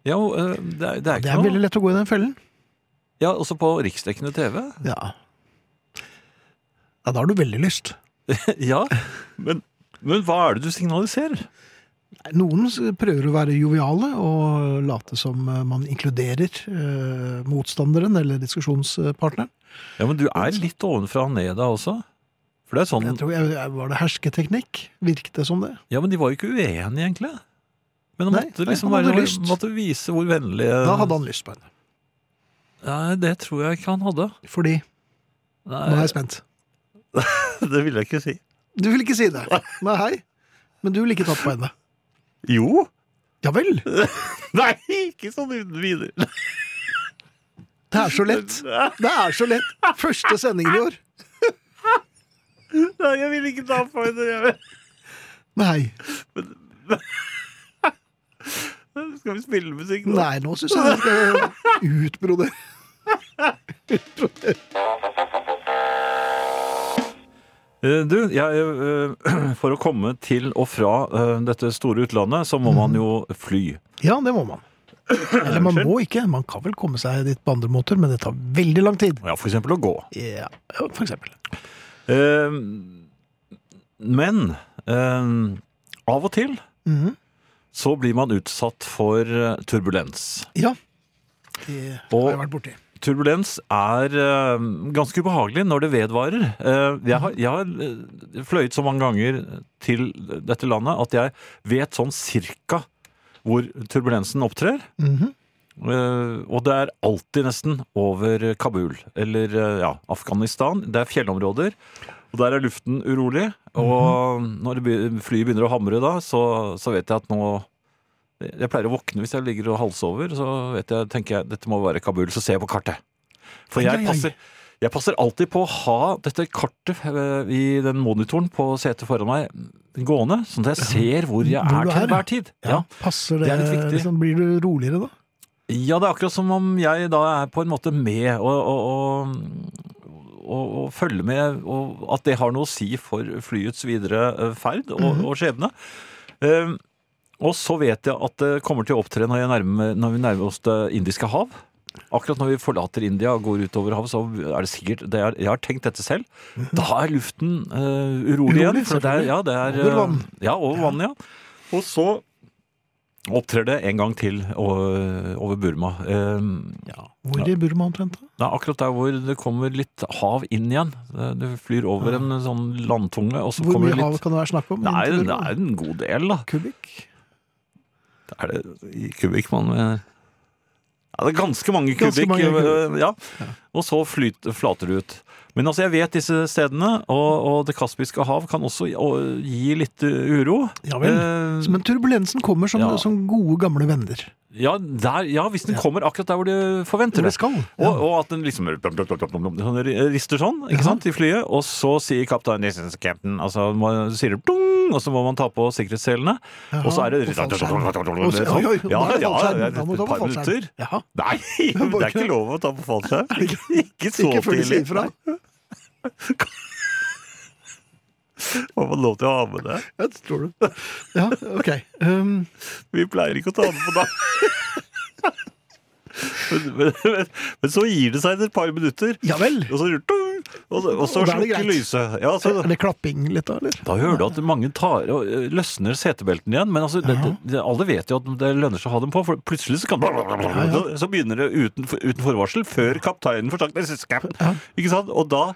Speaker 3: Ja, og, øh, det er, det er
Speaker 2: Det
Speaker 3: ikke
Speaker 2: er
Speaker 3: noe
Speaker 2: veldig lett å gå i den fellen.
Speaker 3: Ja, også på riksdekkende TV. *laughs*
Speaker 2: Ja. ja, da har du veldig lyst.
Speaker 3: ja, men, men hva er det du signaliserer?
Speaker 2: Noen s- prøver å være joviale og late som eh, man inkluderer eh, motstanderen eller diskusjonspartneren.
Speaker 3: Ja, men du er litt ovenfra og ned da også. For det er sånn
Speaker 2: Jeg tror jeg, jeg, Var det hersketeknikk? Virket det som det?
Speaker 3: Ja, men de var jo ikke uenige, egentlig. Men han
Speaker 2: Nei,
Speaker 3: måtte
Speaker 2: nei,
Speaker 3: liksom
Speaker 2: han hadde
Speaker 3: være,
Speaker 2: lyst.
Speaker 3: måtte vise hvor vennlig
Speaker 2: Da hadde han lyst på henne.
Speaker 3: Nei, det tror jeg ikke han hadde.
Speaker 2: Fordi Nå er
Speaker 3: Nei,
Speaker 2: jeg spent.
Speaker 3: *laughs* det vil jeg ikke si.
Speaker 2: Du vil ikke si det. Nei, hei. Men du vil ikke tatt på henne.
Speaker 3: Jo!
Speaker 2: Ja vel.
Speaker 3: *laughs* Nei, ikke sånn uten videre.
Speaker 2: Det er så lett. Det er så lett. Første sendingen i år.
Speaker 3: Nei, jeg vil ikke ta på henne. jeg vil-
Speaker 2: Nei.
Speaker 3: Skal vi spille musikk nå?
Speaker 2: Nei, nå syns jeg vi skal utbrodere.
Speaker 3: Eh, Du, jeg, eh, *clears throat* for å komme til og fra eh, dette store utlandet, så må man jo fly.
Speaker 2: Ja, det må man. Eller man må ikke. Man kan vel komme seg dit på andre måter, men det tar veldig lang tid.
Speaker 3: Ja, for eksempel å gå.
Speaker 2: Ja, for eksempel.
Speaker 3: Eh, Men eh, av og til
Speaker 2: Mhm.
Speaker 3: så blir man utsatt for eh, turbulens.
Speaker 2: Ja. Det har
Speaker 3: Og-
Speaker 2: jeg vært borti.
Speaker 3: Turbulens er eh, ganske ubehagelig når det vedvarer. Eh, jeg har, jeg har eh, fløyet så mange ganger til dette landet at jeg vet sånn cirka hvor turbulensen opptrer.
Speaker 2: Mhm.
Speaker 3: Eh, og det er alltid nesten over Kabul, eller eh, ja, Afghanistan. Det er fjellområder, og der er luften urolig. Og
Speaker 2: Mhm.
Speaker 3: når det be- flyet begynner å hamre da, så, så vet jeg at nå Jeg pleier å våkne hvis jeg ligger og halsover, så vet jeg, tenker jeg dette må være Kabul. Så ser jeg på kartet. For
Speaker 2: Ai,
Speaker 3: jeg
Speaker 2: ai, ai.
Speaker 3: passer, Jeg passer alltid på å ha dette kartet eh, i den monitoren på setet foran meg gående, sånn at jeg ser hvor jeg
Speaker 2: Hvor du
Speaker 3: er
Speaker 2: er,
Speaker 3: til
Speaker 2: ja.
Speaker 3: hver tid. Ja.
Speaker 2: Passer
Speaker 3: Det
Speaker 2: det,
Speaker 3: er litt viktig.
Speaker 2: liksom, Blir du roligere da?
Speaker 3: ja, det er akkurat som om jeg da er på en måte med og, og, og, og, og følger med, og at det har noe å si for flyets videre eh, ferd og, og skjebne. Eh, og så vet jeg at det kommer til å opptre når, jeg nærmer, når vi nærmer oss det indiske hav. Akkurat når vi forlater India og går utover havet, så er det sikkert det er, Jeg har tenkt dette selv. Da er luften eh, urolig igjen.
Speaker 2: Urolig,
Speaker 3: For det er, ja, det er, eh,
Speaker 2: Over vann.
Speaker 3: Ja, over vann, ja. Og så opptrer det en gang til o- over Burma. Eh, ja.
Speaker 2: Hvor i Burma omtrent? da?
Speaker 3: Det er akkurat der hvor det kommer litt hav inn igjen. Eh, Du flyr over en sånn landtunge, og så
Speaker 2: Hvor
Speaker 3: kommer
Speaker 2: mye
Speaker 3: det
Speaker 2: hav
Speaker 3: litt
Speaker 2: kan det være snakk om?
Speaker 3: Nei,
Speaker 2: inntil
Speaker 3: det
Speaker 2: Burma?
Speaker 3: er en god del, da.
Speaker 2: Kubikk?
Speaker 3: Er det i kubikk man eh, Ja, det er ganske mange kubikk.
Speaker 2: Ganske mange kubikk.
Speaker 3: eh, Ja. Og så flyt, flater det ut. Men altså, jeg vet disse stedene, og, og Det kaspiske hav kan også gi- å- gi litt eh, uro.
Speaker 2: Ja vel.
Speaker 3: Eh,
Speaker 2: Men turbulensen kommer som,
Speaker 3: Ja.
Speaker 2: som gode, gamle venner.
Speaker 3: ja, der, ja, hvis den kommer akkurat der hvor du forventer
Speaker 2: Hvor
Speaker 3: det.
Speaker 2: det skal.
Speaker 3: Og, og at den liksom sånn rister sånn ikke sant, i flyet, og så sier kaptein This is captain, altså man sier det dung, og så må man ta på sikkerhetsselene, og så er det
Speaker 2: Jaha, og fallskjerm. Og så- Oi, oi,
Speaker 3: Ja,
Speaker 2: da er det
Speaker 3: ja,
Speaker 2: fallskjerm.
Speaker 3: det er
Speaker 2: Da må du
Speaker 3: et
Speaker 2: ta på
Speaker 3: par
Speaker 2: fallskjerm.
Speaker 3: minutter.
Speaker 2: Jaha.
Speaker 3: Nei, det er ikke lov å ta på fallskjerm. Ikke så
Speaker 2: Ikke før de sier fra.
Speaker 3: tidlig. Må man lov til å ha med det?
Speaker 2: Ja, det tror du. Ja, ok. Um,
Speaker 3: Vi pleier ikke å ta det på dag. Men, men, men, men så gir det seg etter et par minutter,
Speaker 2: ja vel.
Speaker 3: og så, tung, og så, og så
Speaker 2: Og da er det
Speaker 3: slukker
Speaker 2: greit.
Speaker 3: lyset. Ja, altså, så,
Speaker 2: Er det klapping litt da, eller?
Speaker 3: da hører du at mange tar og eh, løsner setebeltene igjen, men altså, det, det, alle vet jo at det lønner seg å ha dem på, for plutselig så kan Så, så begynner det uten, uten forvarsel, før kapteinen får sagt «This is captain». Ikke sant? Og da,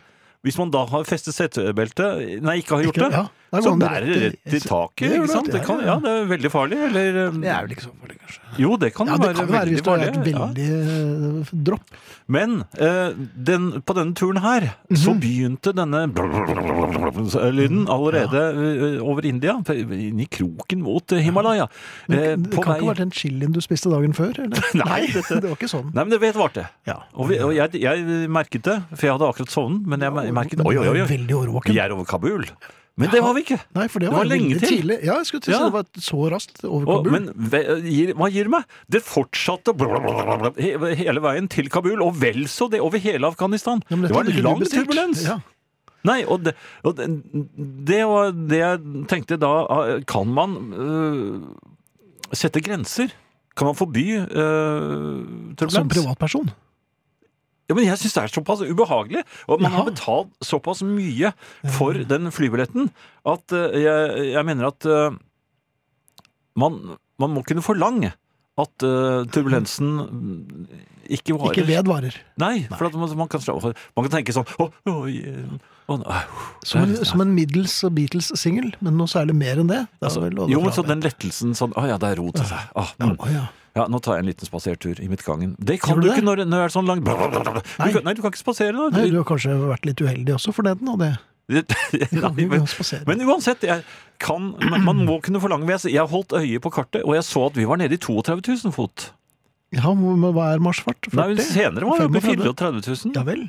Speaker 3: hvis man da har festet setebeltet, nei, ikke har gjort
Speaker 2: Ikke-
Speaker 3: det,
Speaker 2: ja, da går
Speaker 3: så
Speaker 2: man
Speaker 3: bærer det
Speaker 2: rett i-
Speaker 3: rett i
Speaker 2: Det
Speaker 3: taket,
Speaker 2: gjør
Speaker 3: ikke
Speaker 2: det,
Speaker 3: sant?
Speaker 2: det
Speaker 3: Det kan,
Speaker 2: er-
Speaker 3: ja, det er veldig farlig, eller eh,
Speaker 2: Det er vel ikke så farlig, kanskje.
Speaker 3: Jo, det kan
Speaker 2: Ja,
Speaker 3: være
Speaker 2: det kan være hvis
Speaker 3: veldig
Speaker 2: det har vært
Speaker 3: farlig. ja.
Speaker 2: veldig eh, dropp.
Speaker 3: Men eh, den, på denne turen her, så
Speaker 2: Mhm.
Speaker 3: begynte denne lyden
Speaker 2: Mm.
Speaker 3: allerede eh, over India, inn i kroken mot Himalaya. Eh,
Speaker 2: Men det
Speaker 3: på
Speaker 2: kan ikke ha
Speaker 3: vei-
Speaker 2: vært den chilien du spiste dagen før? Eller?
Speaker 3: *laughs* Nei, dette-
Speaker 2: det var ikke sånn.
Speaker 3: Nei, men det vet varte.
Speaker 2: Ja.
Speaker 3: Og, vi, og jeg, jeg merket det, for jeg hadde akkurat sovnet, men jeg mer- merket Oi, oi, oi, oi,
Speaker 2: Veldig årvåken.
Speaker 3: vi er over Kabul. Men det var vi ikke.
Speaker 2: Nei, for det
Speaker 3: Det
Speaker 2: var,
Speaker 3: var
Speaker 2: veldig
Speaker 3: lenge til.
Speaker 2: tidlig. Ja, jeg skulle til å si
Speaker 3: Ja.
Speaker 2: det var så raskt over
Speaker 3: Og,
Speaker 2: Kabul.
Speaker 3: men ve- gir, hva gir det meg? Det fortsatte he- hele veien til Kabul, og vel så det over hele Afghanistan.
Speaker 2: Ja, men dette
Speaker 3: det var
Speaker 2: hadde
Speaker 3: en
Speaker 2: ikke du
Speaker 3: lang
Speaker 2: bestilt.
Speaker 3: turbulens.
Speaker 2: Ja.
Speaker 3: Nei, og det, og det, det var det jeg tenkte da ah, Kan man øh, sette grenser? Kan man forby øh,
Speaker 2: Som
Speaker 3: turbulens?
Speaker 2: privatperson.
Speaker 3: Ja, men jeg syns det er såpass ubehagelig. Og man har
Speaker 2: Jaha.
Speaker 3: betalt såpass mye for den flybilletten at øh, jeg, jeg mener at øh, man, man må kunne forlange at øh, turbulensen øh, ikke varer
Speaker 2: Ikke vedvarer.
Speaker 3: Nei, for at man, man, kan, slå- man kan tenke sånn Å, oi, å, nei,
Speaker 2: Som en,
Speaker 3: det er-
Speaker 2: som en middels Beatles-singel, men noe særlig mer enn det. det er
Speaker 3: Altså,
Speaker 2: vel å
Speaker 3: jo,
Speaker 2: dra
Speaker 3: men så
Speaker 2: med.
Speaker 3: den lettelsen sånn Å ja, det er ro til seg. Ah,
Speaker 2: ja,
Speaker 3: mm.
Speaker 2: å ja.
Speaker 3: Ja, nå tar jeg en liten spasertur i midtgangen. Det
Speaker 2: Gjør
Speaker 3: kan
Speaker 2: du
Speaker 3: du
Speaker 2: det?
Speaker 3: ikke når, når det er sånn lang du kan, Nei, du kan ikke spasere nå.
Speaker 2: Nei,
Speaker 3: Du- *laughs*
Speaker 2: du har kanskje vært litt uheldig også for den, og det kan
Speaker 3: Nei,
Speaker 2: vi
Speaker 3: men,
Speaker 2: jo spasere.
Speaker 3: men uansett, jeg kan, men man må kunne forlange Jeg jeg holdt øye på kartet, og jeg så at vi var nede i 32 000 fot.
Speaker 2: Ja, men hva er marsjfart?
Speaker 3: Nei, men
Speaker 2: 40?
Speaker 3: senere var vi oppe i
Speaker 2: 35.
Speaker 3: 34 000.
Speaker 2: Ja vel.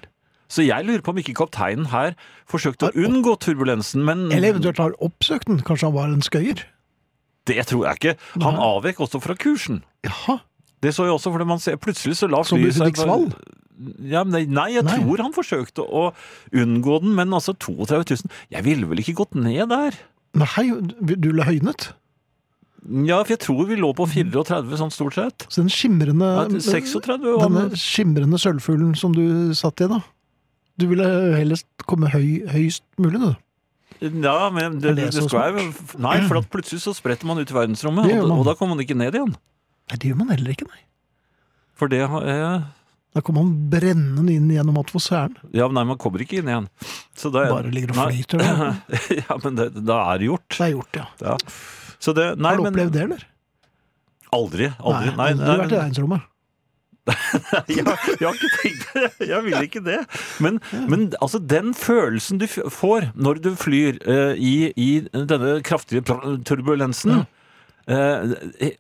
Speaker 3: Så jeg lurer på om ikke kapteinen her forsøkte
Speaker 2: Har
Speaker 3: å unngå turbulensen, men
Speaker 2: Eller eventuelt har oppsøkt den. Kanskje han var en skøyer?
Speaker 3: det tror jeg ikke. Han
Speaker 2: Nei.
Speaker 3: avvek også fra kursen.
Speaker 2: Jaha.
Speaker 3: Det så jeg også, for man ser plutselig så la
Speaker 2: Som i
Speaker 3: flyet seg
Speaker 2: Hudiksvall?
Speaker 3: Ja, men nei, nei, jeg
Speaker 2: Nei.
Speaker 3: tror han forsøkte å unngå den, men altså 32 000 Jeg ville vel ikke gått ned der?
Speaker 2: Nei, du ble høynet?
Speaker 3: Ja, for jeg tror vi lå på 34 sånn stort sett.
Speaker 2: Så den skimrende
Speaker 3: Ja, 36
Speaker 2: Denne
Speaker 3: og
Speaker 2: skimrende sølvfuglen som du satt i, da. Du ville helst komme høy, høyst mulig, du.
Speaker 3: Ja, men
Speaker 2: Er
Speaker 3: det, det,
Speaker 2: det så
Speaker 3: skal jeg Nei, for at plutselig så spretter man ut i verdensrommet,
Speaker 2: Det gjør
Speaker 3: og, da-
Speaker 2: man.
Speaker 3: og da kommer man ikke ned igjen.
Speaker 2: Nei, det gjør man heller ikke, nei.
Speaker 3: For det har- eh,
Speaker 2: Da kommer man brennende inn gjennom atmosfæren.
Speaker 3: Ja, nei, man kommer ikke inn igjen. Så det,
Speaker 2: Bare ligger og
Speaker 3: Nei.
Speaker 2: flyter der.
Speaker 3: *laughs* Ja, men det, da er det gjort.
Speaker 2: Det er gjort, ja.
Speaker 3: Ja. Så det Nei,
Speaker 2: Har du
Speaker 3: men
Speaker 2: opplevd det, eller?
Speaker 3: Aldri. Aldri.
Speaker 2: aldri
Speaker 3: Nei, nei,
Speaker 2: vært i
Speaker 3: men-
Speaker 2: verdensrommet.
Speaker 3: *laughs* jeg, jeg har ikke tenkt det. Jeg vil ikke det. Men, men altså, den følelsen du f- får når du flyr eh, i, i denne kraftige pr- turbulensen eh, eh,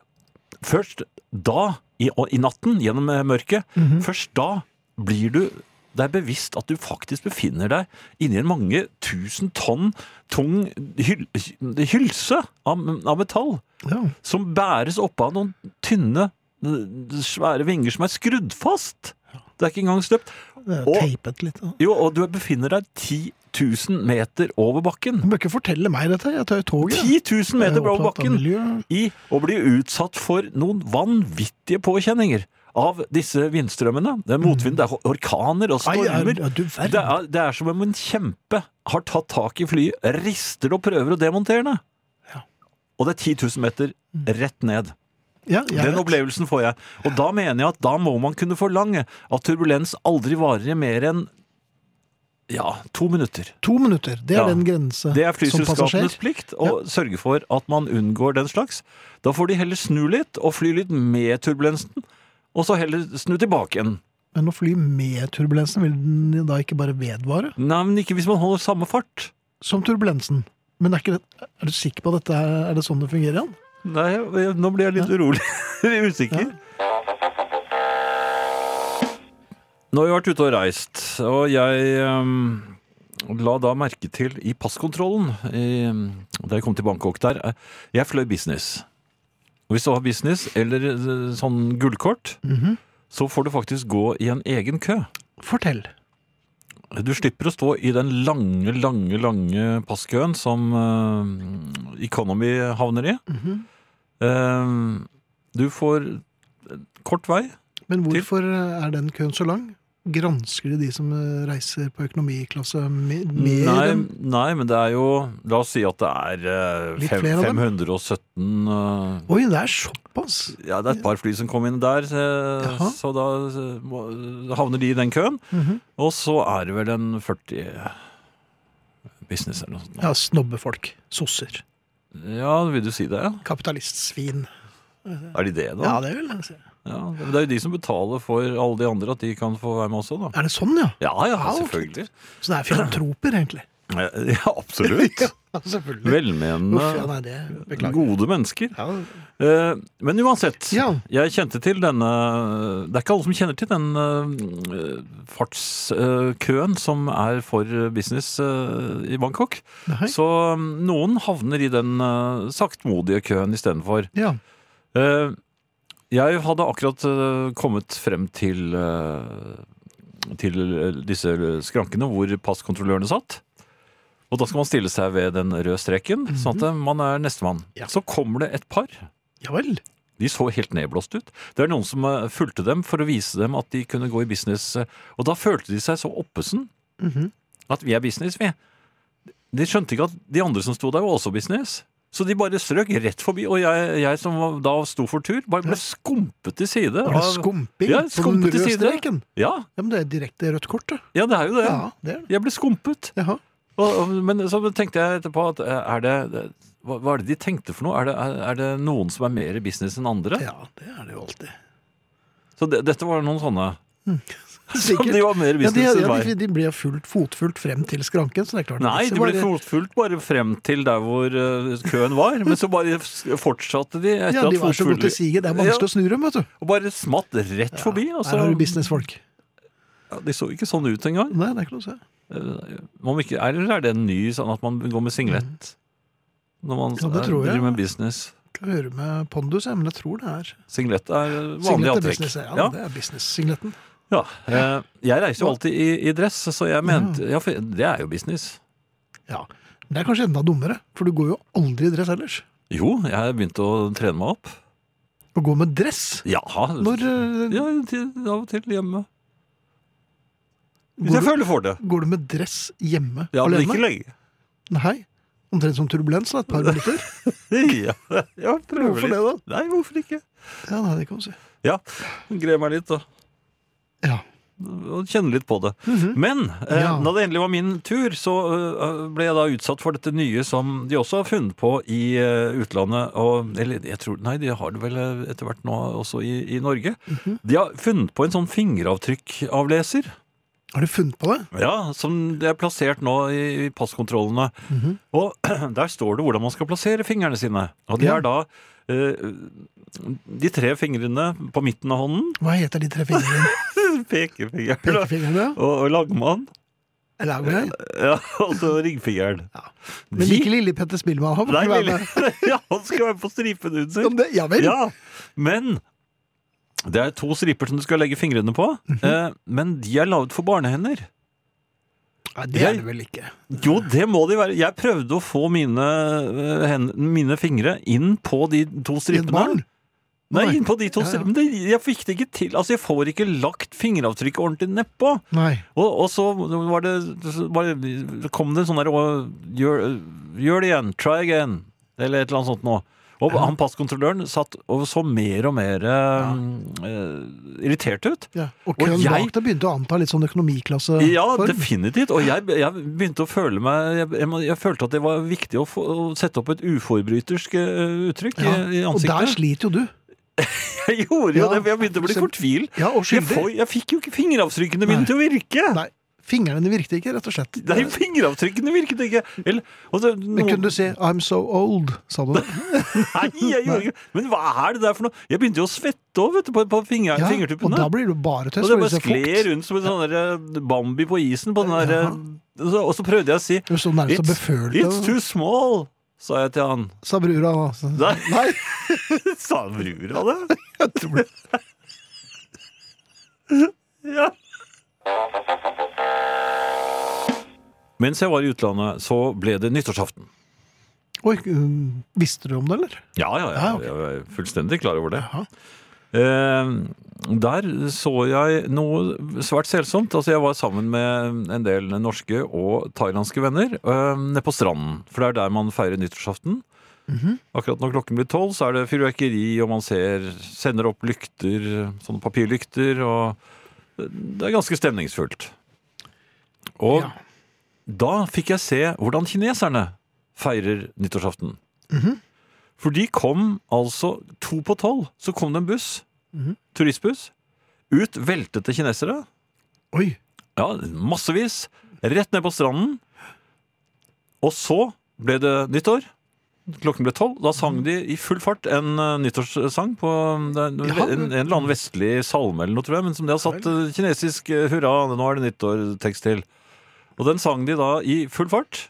Speaker 3: Først da, i, og i natten, gjennom eh, mørket, først da blir du Det er bevisst at du faktisk befinner deg inni en mange tusen tonn tung hyl hylse av, av metall
Speaker 2: Ja.
Speaker 3: som bæres opp av noen tynne, svære vinger som er skrudd fast. Det er ikke engang støpt.
Speaker 2: Det er
Speaker 3: Og-
Speaker 2: teipet litt. da.
Speaker 3: Jo, og du befinner deg 10 000 meter over bakken.
Speaker 2: Du bør ikke fortelle meg dette, jeg tar jo toget.
Speaker 3: 10 000
Speaker 2: Jeg er
Speaker 3: meter over
Speaker 2: opptatt av
Speaker 3: bakken
Speaker 2: miljø.
Speaker 3: i å bli utsatt for noen vanvittige påkjenninger av disse vindstrømmene. Det er motvind, det er orkaner og
Speaker 2: Ai, er,
Speaker 3: stormer.
Speaker 2: er du
Speaker 3: Det
Speaker 2: verden.
Speaker 3: er, det er som om en kjempe har tatt tak i flyet, rister det og prøver å demontere det.
Speaker 2: Ja. Mm.
Speaker 3: Og det er 10 000 meter rett ned.
Speaker 2: Ja, jeg
Speaker 3: Den
Speaker 2: vet.
Speaker 3: opplevelsen får jeg. Og da mener jeg at da må man kunne forlange at turbulens aldri varer i mer enn ja, to minutter.
Speaker 2: To minutter, det er
Speaker 3: Ja.
Speaker 2: den grense
Speaker 3: Det er
Speaker 2: som passasjer.
Speaker 3: flyselskapenes plikt å sørge for at man unngår den slags. Da får de heller snu litt og fly litt med turbulensen, og så heller snu tilbake igjen.
Speaker 2: Men å fly med turbulensen, vil den da ikke bare vedvare?
Speaker 3: Nei, men ikke hvis man holder samme fart.
Speaker 2: Som turbulensen. Men er, ikke det, er du sikker på at dette er, er det sånn det fungerer? Jan?
Speaker 3: Nei, jeg- nå blir jeg litt urolig. *laughs* Usikker. Nå har jeg vært ute og reist, og jeg ehm, la da merke til i passkontrollen i, da jeg kom til Bangkok der eh, Jeg fløy business. Og hvis du har business eller eh, sånn gullkort,
Speaker 2: Mhm.
Speaker 3: så får du faktisk gå i en egen kø.
Speaker 2: Fortell.
Speaker 3: Du slipper å stå i den lange, lange, lange passkøen som eh, Economy havner i.
Speaker 2: Mhm.
Speaker 3: Eh, du får kort vei.
Speaker 2: Men hvorfor eh, er den køen så lang? Gransker de de som eh, reiser på økonomiklasse me- mer?
Speaker 3: Nei,
Speaker 2: enn-
Speaker 3: nei, men det er jo La oss si at det er eh,
Speaker 2: Litt
Speaker 3: fem,
Speaker 2: flere av dem?
Speaker 3: 517 eh,
Speaker 2: Oi, det er såpass!
Speaker 3: Ja, det er et par fly som kom inn der, eh,
Speaker 2: Jaha.
Speaker 3: så da eh, må- havner de i den køen.
Speaker 2: Mhm.
Speaker 3: Og så er det vel en 40 business eller noe sånt.
Speaker 2: Ja, snobbefolk. Sosser.
Speaker 3: Ja, vil du si det? ja?
Speaker 2: Kapitalistsvin.
Speaker 3: Er de det, da?
Speaker 2: Ja, det vil jeg si.
Speaker 3: Ja, men Det er jo de som betaler for alle de andre, at de kan få være med også, da.
Speaker 2: Er det sånn, ja?
Speaker 3: Ja, ja,
Speaker 2: Ja,
Speaker 3: selvfølgelig.
Speaker 2: Så det er filantroper, egentlig.
Speaker 3: Ja, *laughs* absolutt.
Speaker 2: Ja, selvfølgelig. Uff, ja,
Speaker 3: Velmenende,
Speaker 2: nei, det beklager.
Speaker 3: gode mennesker.
Speaker 2: Ja,
Speaker 3: Eh, Men uansett,
Speaker 2: Ja.
Speaker 3: jeg kjente til denne Det er ikke alle som kjenner til den eh, fartskøen som er for business eh, i Bangkok.
Speaker 2: nei.
Speaker 3: Så mm, noen havner i den eh, saktmodige køen istedenfor.
Speaker 2: ja.
Speaker 3: Eh, Jeg hadde akkurat eh, kommet frem til eh, til eh, disse skrankene hvor passkontrollørene satt. Og da skal man stille seg ved den røde streken, sånn at eh, man er nestemann.
Speaker 2: Ja.
Speaker 3: Så kommer det et par.
Speaker 2: ja vel.
Speaker 3: De så helt nedblåst ut. Det er noen som eh, fulgte dem for å vise dem at de kunne gå i business. eh, Og da følte de seg så oppesen
Speaker 2: Mhm.
Speaker 3: at vi er business, vi. De skjønte ikke at de andre som sto der, var også business. Så de bare strøk rett forbi, og jeg, jeg som var- da sto for tur, bare ble skumpet til side.
Speaker 2: Var det
Speaker 3: av-
Speaker 2: skumping?
Speaker 3: Ja,
Speaker 2: på den
Speaker 3: skumpet til
Speaker 2: røde
Speaker 3: side.
Speaker 2: streken?
Speaker 3: Ja,
Speaker 2: Ja, men det er direkte rødt kort, da.
Speaker 3: ja, det er jo det.
Speaker 2: Ja, det er det.
Speaker 3: Jeg ble skumpet.
Speaker 2: Jaha.
Speaker 3: Og, og, men så tenkte jeg etterpå at eh, er det, hva, hva er det de tenkte for noe? Er det, er, er det noen som er mer i business enn andre?
Speaker 2: Ja, det er det jo alltid.
Speaker 3: Så det, dette var noen sånne. *laughs* Som
Speaker 2: Sikkert.
Speaker 3: de var mer i
Speaker 2: Ja, de,
Speaker 3: business enn
Speaker 2: ja,
Speaker 3: meg.
Speaker 2: de, de ble fullt fotfulgt frem til skranken, så det er klart
Speaker 3: Nei,
Speaker 2: disse
Speaker 3: de ble
Speaker 2: var-
Speaker 3: fotfulgt bare frem til der hvor eh, køen var, men så bare s- fortsatte de etter
Speaker 2: Ja, de
Speaker 3: at
Speaker 2: var så gode til
Speaker 3: fotfulgte
Speaker 2: siget. Det er vanskelig å snu dem, vet du.
Speaker 3: og bare smatt rett forbi. Og så,
Speaker 2: Her har du businessfolk.
Speaker 3: ja, de så ikke sånn ut engang.
Speaker 2: Nei, det er ikke noe å se.
Speaker 3: Eh, Om ikke, eller er det en ny sånn at man går med singlet når man
Speaker 2: Mm. Ja, det
Speaker 3: eh,
Speaker 2: tror jeg.
Speaker 3: driver med business?
Speaker 2: Kan høre med pondus, jeg, men jeg tror det er
Speaker 3: Singlet er eh, vanlig
Speaker 2: Singlet er
Speaker 3: antrekk.
Speaker 2: business. Ja,
Speaker 3: Ja.
Speaker 2: det er business-singleten.
Speaker 3: Ja, eh, jeg reiser jo alltid i, i dress, så jeg mente
Speaker 2: Mm.
Speaker 3: ja, for Det er jo business.
Speaker 2: Ja. Men Det er kanskje enda dummere, for du går jo aldri i dress ellers.
Speaker 3: Jo, jeg har begynt å trene meg opp.
Speaker 2: Å gå med dress
Speaker 3: Ja,
Speaker 2: Når eh,
Speaker 3: ja til, av og til hjemme. Hvis
Speaker 2: går,
Speaker 3: jeg
Speaker 2: du,
Speaker 3: føler for det.
Speaker 2: går du med dress hjemme
Speaker 3: Ja, men ikke
Speaker 2: alene?
Speaker 3: lenge.
Speaker 2: Nei. Omtrent som turbulens, da. Et par minutter.
Speaker 3: Ja, ja prøver
Speaker 2: Hvorfor det,
Speaker 3: litt.
Speaker 2: da?
Speaker 3: Nei, hvorfor ikke?
Speaker 2: Ja, nei, det kan man si.
Speaker 3: *laughs* Ja, greier meg litt, da.
Speaker 2: Ja.
Speaker 3: Og kjenner litt på det. Men eh,
Speaker 2: Mhm. Ja.
Speaker 3: da det endelig var min tur, så eh, ble jeg da utsatt for dette nye som de også har funnet på i eh, utlandet. Og, eller jeg tror Nei, de har det vel eh, etter hvert nå også i, i Norge.
Speaker 2: Mhm.
Speaker 3: De har funnet på en sånn fingeravtrykkavleser.
Speaker 2: Har du funnet på det?
Speaker 3: Ja, som det er plassert nå i i passkontrollene.
Speaker 2: Mhm.
Speaker 3: Og *clears throat* der står det hvordan man skal plassere fingrene sine. Og det
Speaker 2: Ja.
Speaker 3: er da eh, de tre fingrene på midten av hånden. *laughs*
Speaker 2: Hva heter de tre fingrene?
Speaker 3: Pekefingeren og,
Speaker 2: Pekefingeren, ja.
Speaker 3: og langmann. Eh,
Speaker 2: Eller er det greit?
Speaker 3: Ja, og så ringfingeren.
Speaker 2: Men ikke lille Petter Spillmann. Han får
Speaker 3: Nei,
Speaker 2: ikke være
Speaker 3: Lille.
Speaker 2: med.
Speaker 3: *laughs* Ja, han skal være på stripen
Speaker 2: Om
Speaker 3: under.
Speaker 2: det- Ja vel.
Speaker 3: Ja, men det er to striper som du skal legge fingrene på.
Speaker 2: Mhm.
Speaker 3: eh, Men de er laget for barnehender.
Speaker 2: Nei, det er det vel ikke.
Speaker 3: Jo, det må de være. Jeg prøvde å få mine, eh, hen- mine fingre inn på de to
Speaker 2: Et barn?
Speaker 3: stripene. Nei,
Speaker 2: Nei.
Speaker 3: inn på de to
Speaker 2: Ja, ja.
Speaker 3: stripene. Men det- Jeg fikk det ikke til. Altså, jeg får ikke lagt fingeravtrykket ordentlig nedpå.
Speaker 2: Nei.
Speaker 3: Og, og så var det, var det, kom det en sånn der «Å, gjør, gjør det igjen, try again, eller et eller annet sånt nå. Og han passkontrolløren satt og så mer og mer eh, eh, irritert ut.
Speaker 2: Ja. Og
Speaker 3: Og
Speaker 2: køen
Speaker 3: jeg-
Speaker 2: bak deg begynte å anta litt sånn økonomiklasse.
Speaker 3: Ja, definitivt. Og jeg, jeg begynte å føle meg jeg, jeg, må- jeg følte at det var viktig å, få, å sette opp et uforbrytersk eh, uttrykk
Speaker 2: Ja,
Speaker 3: i, i
Speaker 2: Og der
Speaker 3: ansiktet.
Speaker 2: sliter jo du.
Speaker 3: *laughs* Jeg gjorde jo
Speaker 2: Ja,
Speaker 3: det, for jeg begynte å bli
Speaker 2: så-
Speaker 3: fortvilt.
Speaker 2: Ja, og
Speaker 3: Jeg,
Speaker 2: skyldig.
Speaker 3: får- jeg fikk jo ikke fingeravtrykkene mine
Speaker 2: Nei.
Speaker 3: til å virke!
Speaker 2: Nei, fingrene dine virket ikke, rett og slett.
Speaker 3: Nei, fingeravtrykkene virket ikke! Eller, og det,
Speaker 2: Men
Speaker 3: noen-
Speaker 2: kunne du si 'I'm so old', sa
Speaker 3: *laughs*
Speaker 2: du det?
Speaker 3: Nei, jeg gjorde ikke det. Men hva er det der for noe? Jeg begynte jo å svette òg, vet du, på, på finger,
Speaker 2: Ja, og
Speaker 3: fingertuppene.
Speaker 2: da blir du bare tøys.
Speaker 3: og det
Speaker 2: for
Speaker 3: bare
Speaker 2: hvis er
Speaker 3: skled
Speaker 2: fukt.
Speaker 3: rundt som en sånn der, eh, Bambi på isen. På den der, eh, og så- og så prøvde jeg å si
Speaker 2: Du så nærmest og
Speaker 3: It's- It's
Speaker 2: befølte,
Speaker 3: too small, sa jeg til han.
Speaker 2: sa brura. da. Så-
Speaker 3: Nei,
Speaker 2: Nei,
Speaker 3: *laughs* sa brura det?
Speaker 2: jeg tror det.
Speaker 3: Ja. Mens jeg var i utlandet, så ble det nyttårsaften.
Speaker 2: Oi, um, visste du om det, eller?
Speaker 3: Ja, ja, ja,
Speaker 2: Ja, Ah, ok.
Speaker 3: jeg var fullstendig klar over det.
Speaker 2: Jaha.
Speaker 3: Eh, der så jeg noe svært selsomt. Altså, jeg var sammen med en del norske og thailandske venner eh, nede på stranden. For det er der man feirer nyttårsaften.
Speaker 2: Mhm.
Speaker 3: Akkurat når klokken blir tolv, så er det fyrverkeri, og man ser, sender opp lykter, sånne papirlykter, og det er ganske stemningsfullt. Og
Speaker 2: Ja.
Speaker 3: da fikk jeg se hvordan kineserne feirer nyttårsaften. For de kom altså to på tolv, så kom det en buss,
Speaker 2: Mhm.
Speaker 3: turistbuss, ut veltete kinesere,
Speaker 2: Oi.
Speaker 3: ja, massevis, rett ned på stranden, og så ble det nyttår, klokken ble tolv, da sang de i full fart en eh, nyttårssang på eh, en,
Speaker 2: Ja.
Speaker 3: en, en eller annen vestlig salme eller noe, tror jeg, men som de har satt eh, kinesisk eh, hurra, nå er det nyttår-tekst til. Og den sang de da i full fart.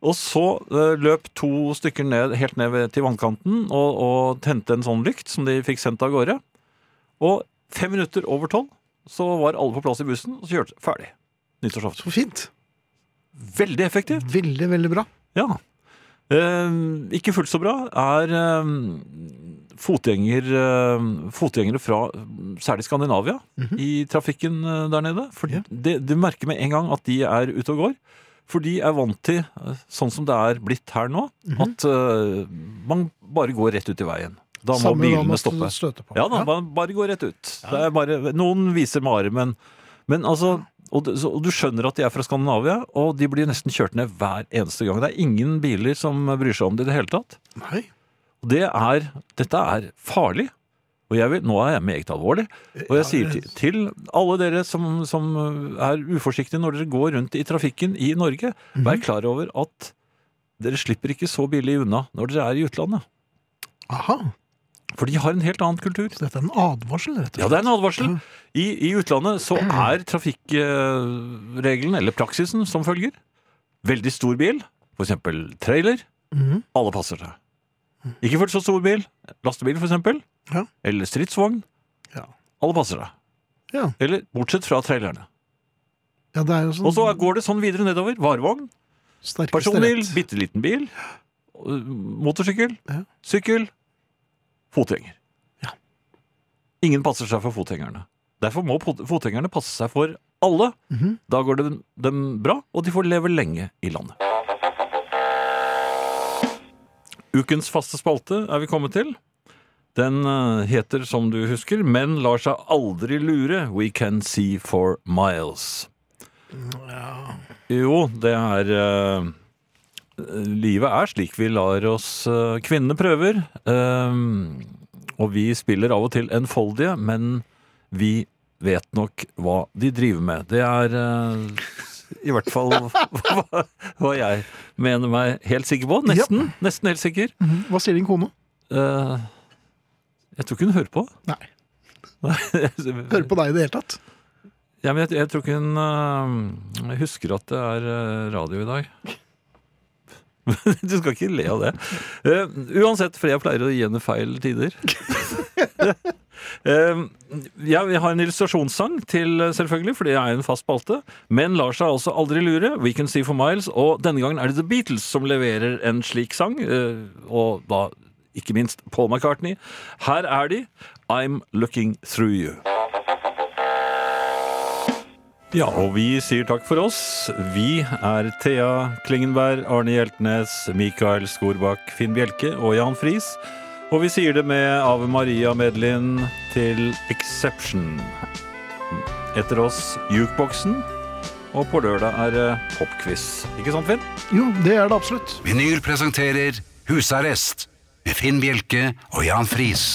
Speaker 3: Og så eh, løp to stykker ned, helt ned ved- til vannkanten og, og tente en sånn lykt som de fikk sendt av gårde. Og fem minutter over tolv så var alle på plass i bussen og så kjørte ferdig. Nyttårsaften.
Speaker 2: Så fint.
Speaker 3: Veldig effektivt.
Speaker 2: Veldig, veldig bra.
Speaker 3: Ja. Eh, ikke fullt så bra er eh, fotgjenger, eh, fotgjengere fra eh, særlig Skandinavia i trafikken eh, der nede. For
Speaker 2: Ja.
Speaker 3: det, du merker med en gang at de er ute og går. For de er vant til, eh, sånn som det er blitt her nå, at eh, man bare går rett ut i veien. Da må
Speaker 2: Samme hva
Speaker 3: bilene
Speaker 2: man
Speaker 3: stoppe.
Speaker 2: støter på.
Speaker 3: Ja da, man bare gå rett ut. Det er bare, noen viser med armen. Men altså, og, du- så, og du skjønner at de er fra Skandinavia, og de blir nesten kjørt ned hver eneste gang. Det er ingen biler som bryr seg om det i det hele tatt.
Speaker 2: Nei.
Speaker 3: Og det er, dette er farlig. Og jeg vil, nå er jeg meget alvorlig. Og jeg sier til, til alle dere som, som er uforsiktige når dere går rundt i trafikken i Norge, vær klar over at dere slipper ikke så billig unna når dere er i utlandet.
Speaker 2: Aha.
Speaker 3: For de har en helt annen kultur.
Speaker 2: Så dette er en advarsel, rett og slett.
Speaker 3: Ja, det er en advarsel. I, i utlandet så er trafikkregelen, eller praksisen, som følger. Veldig stor bil, f.eks. trailer.
Speaker 2: Mhm.
Speaker 3: Alle passer seg. Ikke fullt så stor bil. Lastebil, f.eks.
Speaker 2: Ja.
Speaker 3: Eller stridsvogn.
Speaker 2: Ja.
Speaker 3: Alle passer seg.
Speaker 2: Ja.
Speaker 3: Eller bortsett fra trailerne.
Speaker 2: Ja, det er jo sånn
Speaker 3: Og så går det sånn videre nedover. Varevogn,
Speaker 2: sterkeste
Speaker 3: personbil,
Speaker 2: rett.
Speaker 3: bitte liten bil, øh, motorsykkel,
Speaker 2: Ja.
Speaker 3: sykkel, fotgjenger.
Speaker 2: Ja.
Speaker 3: Ingen passer seg for fotgjengerne. Derfor må pot- fotgjengerne passe seg for alle.
Speaker 2: Mhm.
Speaker 3: Da går det dem- dem bra, og de får leve lenge i landet. Ukens faste spalte er vi kommet til. Den øh, heter, som du husker, Men lar seg aldri lure. We can see for miles. Jo, det er eh, Livet er slik vi lar oss eh, Kvinnene prøver. eh, og vi spiller av og til enfoldige, men vi vet nok hva de driver med. Det er eh, i hvert
Speaker 2: *laughs*
Speaker 3: fall hva, hva jeg mener meg helt sikker på. Nesten, nesten helt sikker.
Speaker 2: Mhm. Hva sier din kone?
Speaker 3: Eh, jeg tror ikke hun hører på.
Speaker 2: Nei.
Speaker 3: *laughs* Nei,
Speaker 2: Hører på deg i det hele tatt.
Speaker 3: Ja, men jeg, jeg tror ikke hun øh, husker at det er øh, radio i dag. *laughs* du skal ikke le av det. Eh, uansett, for jeg pleier å gi henne feil tider. Eh, ja, vi har en illustrasjonssang til, eh, selvfølgelig, for det er en fast spalte. Men lar seg altså aldri lure. We Can See For Miles. Og denne gangen er det The Beatles som leverer en slik sang. eh, og da ikke minst Paul McCartney. Her er de. I'm Looking Through You. Ja, og vi sier takk for oss. Vi er Thea Klingenberg, Arne Hjeltnes, Mikael Skorbakk, Finn Bjelke og Jan Friis. Og vi sier det med Ave Maria Medlin til Exception. Etter oss Jukeboksen, og på lørdag er det popquiz. Ikke sant, Finn?
Speaker 2: Jo, det er det absolutt.
Speaker 1: Vinyl presenterer Husarrest med Finn Bjelke og Jan Friis.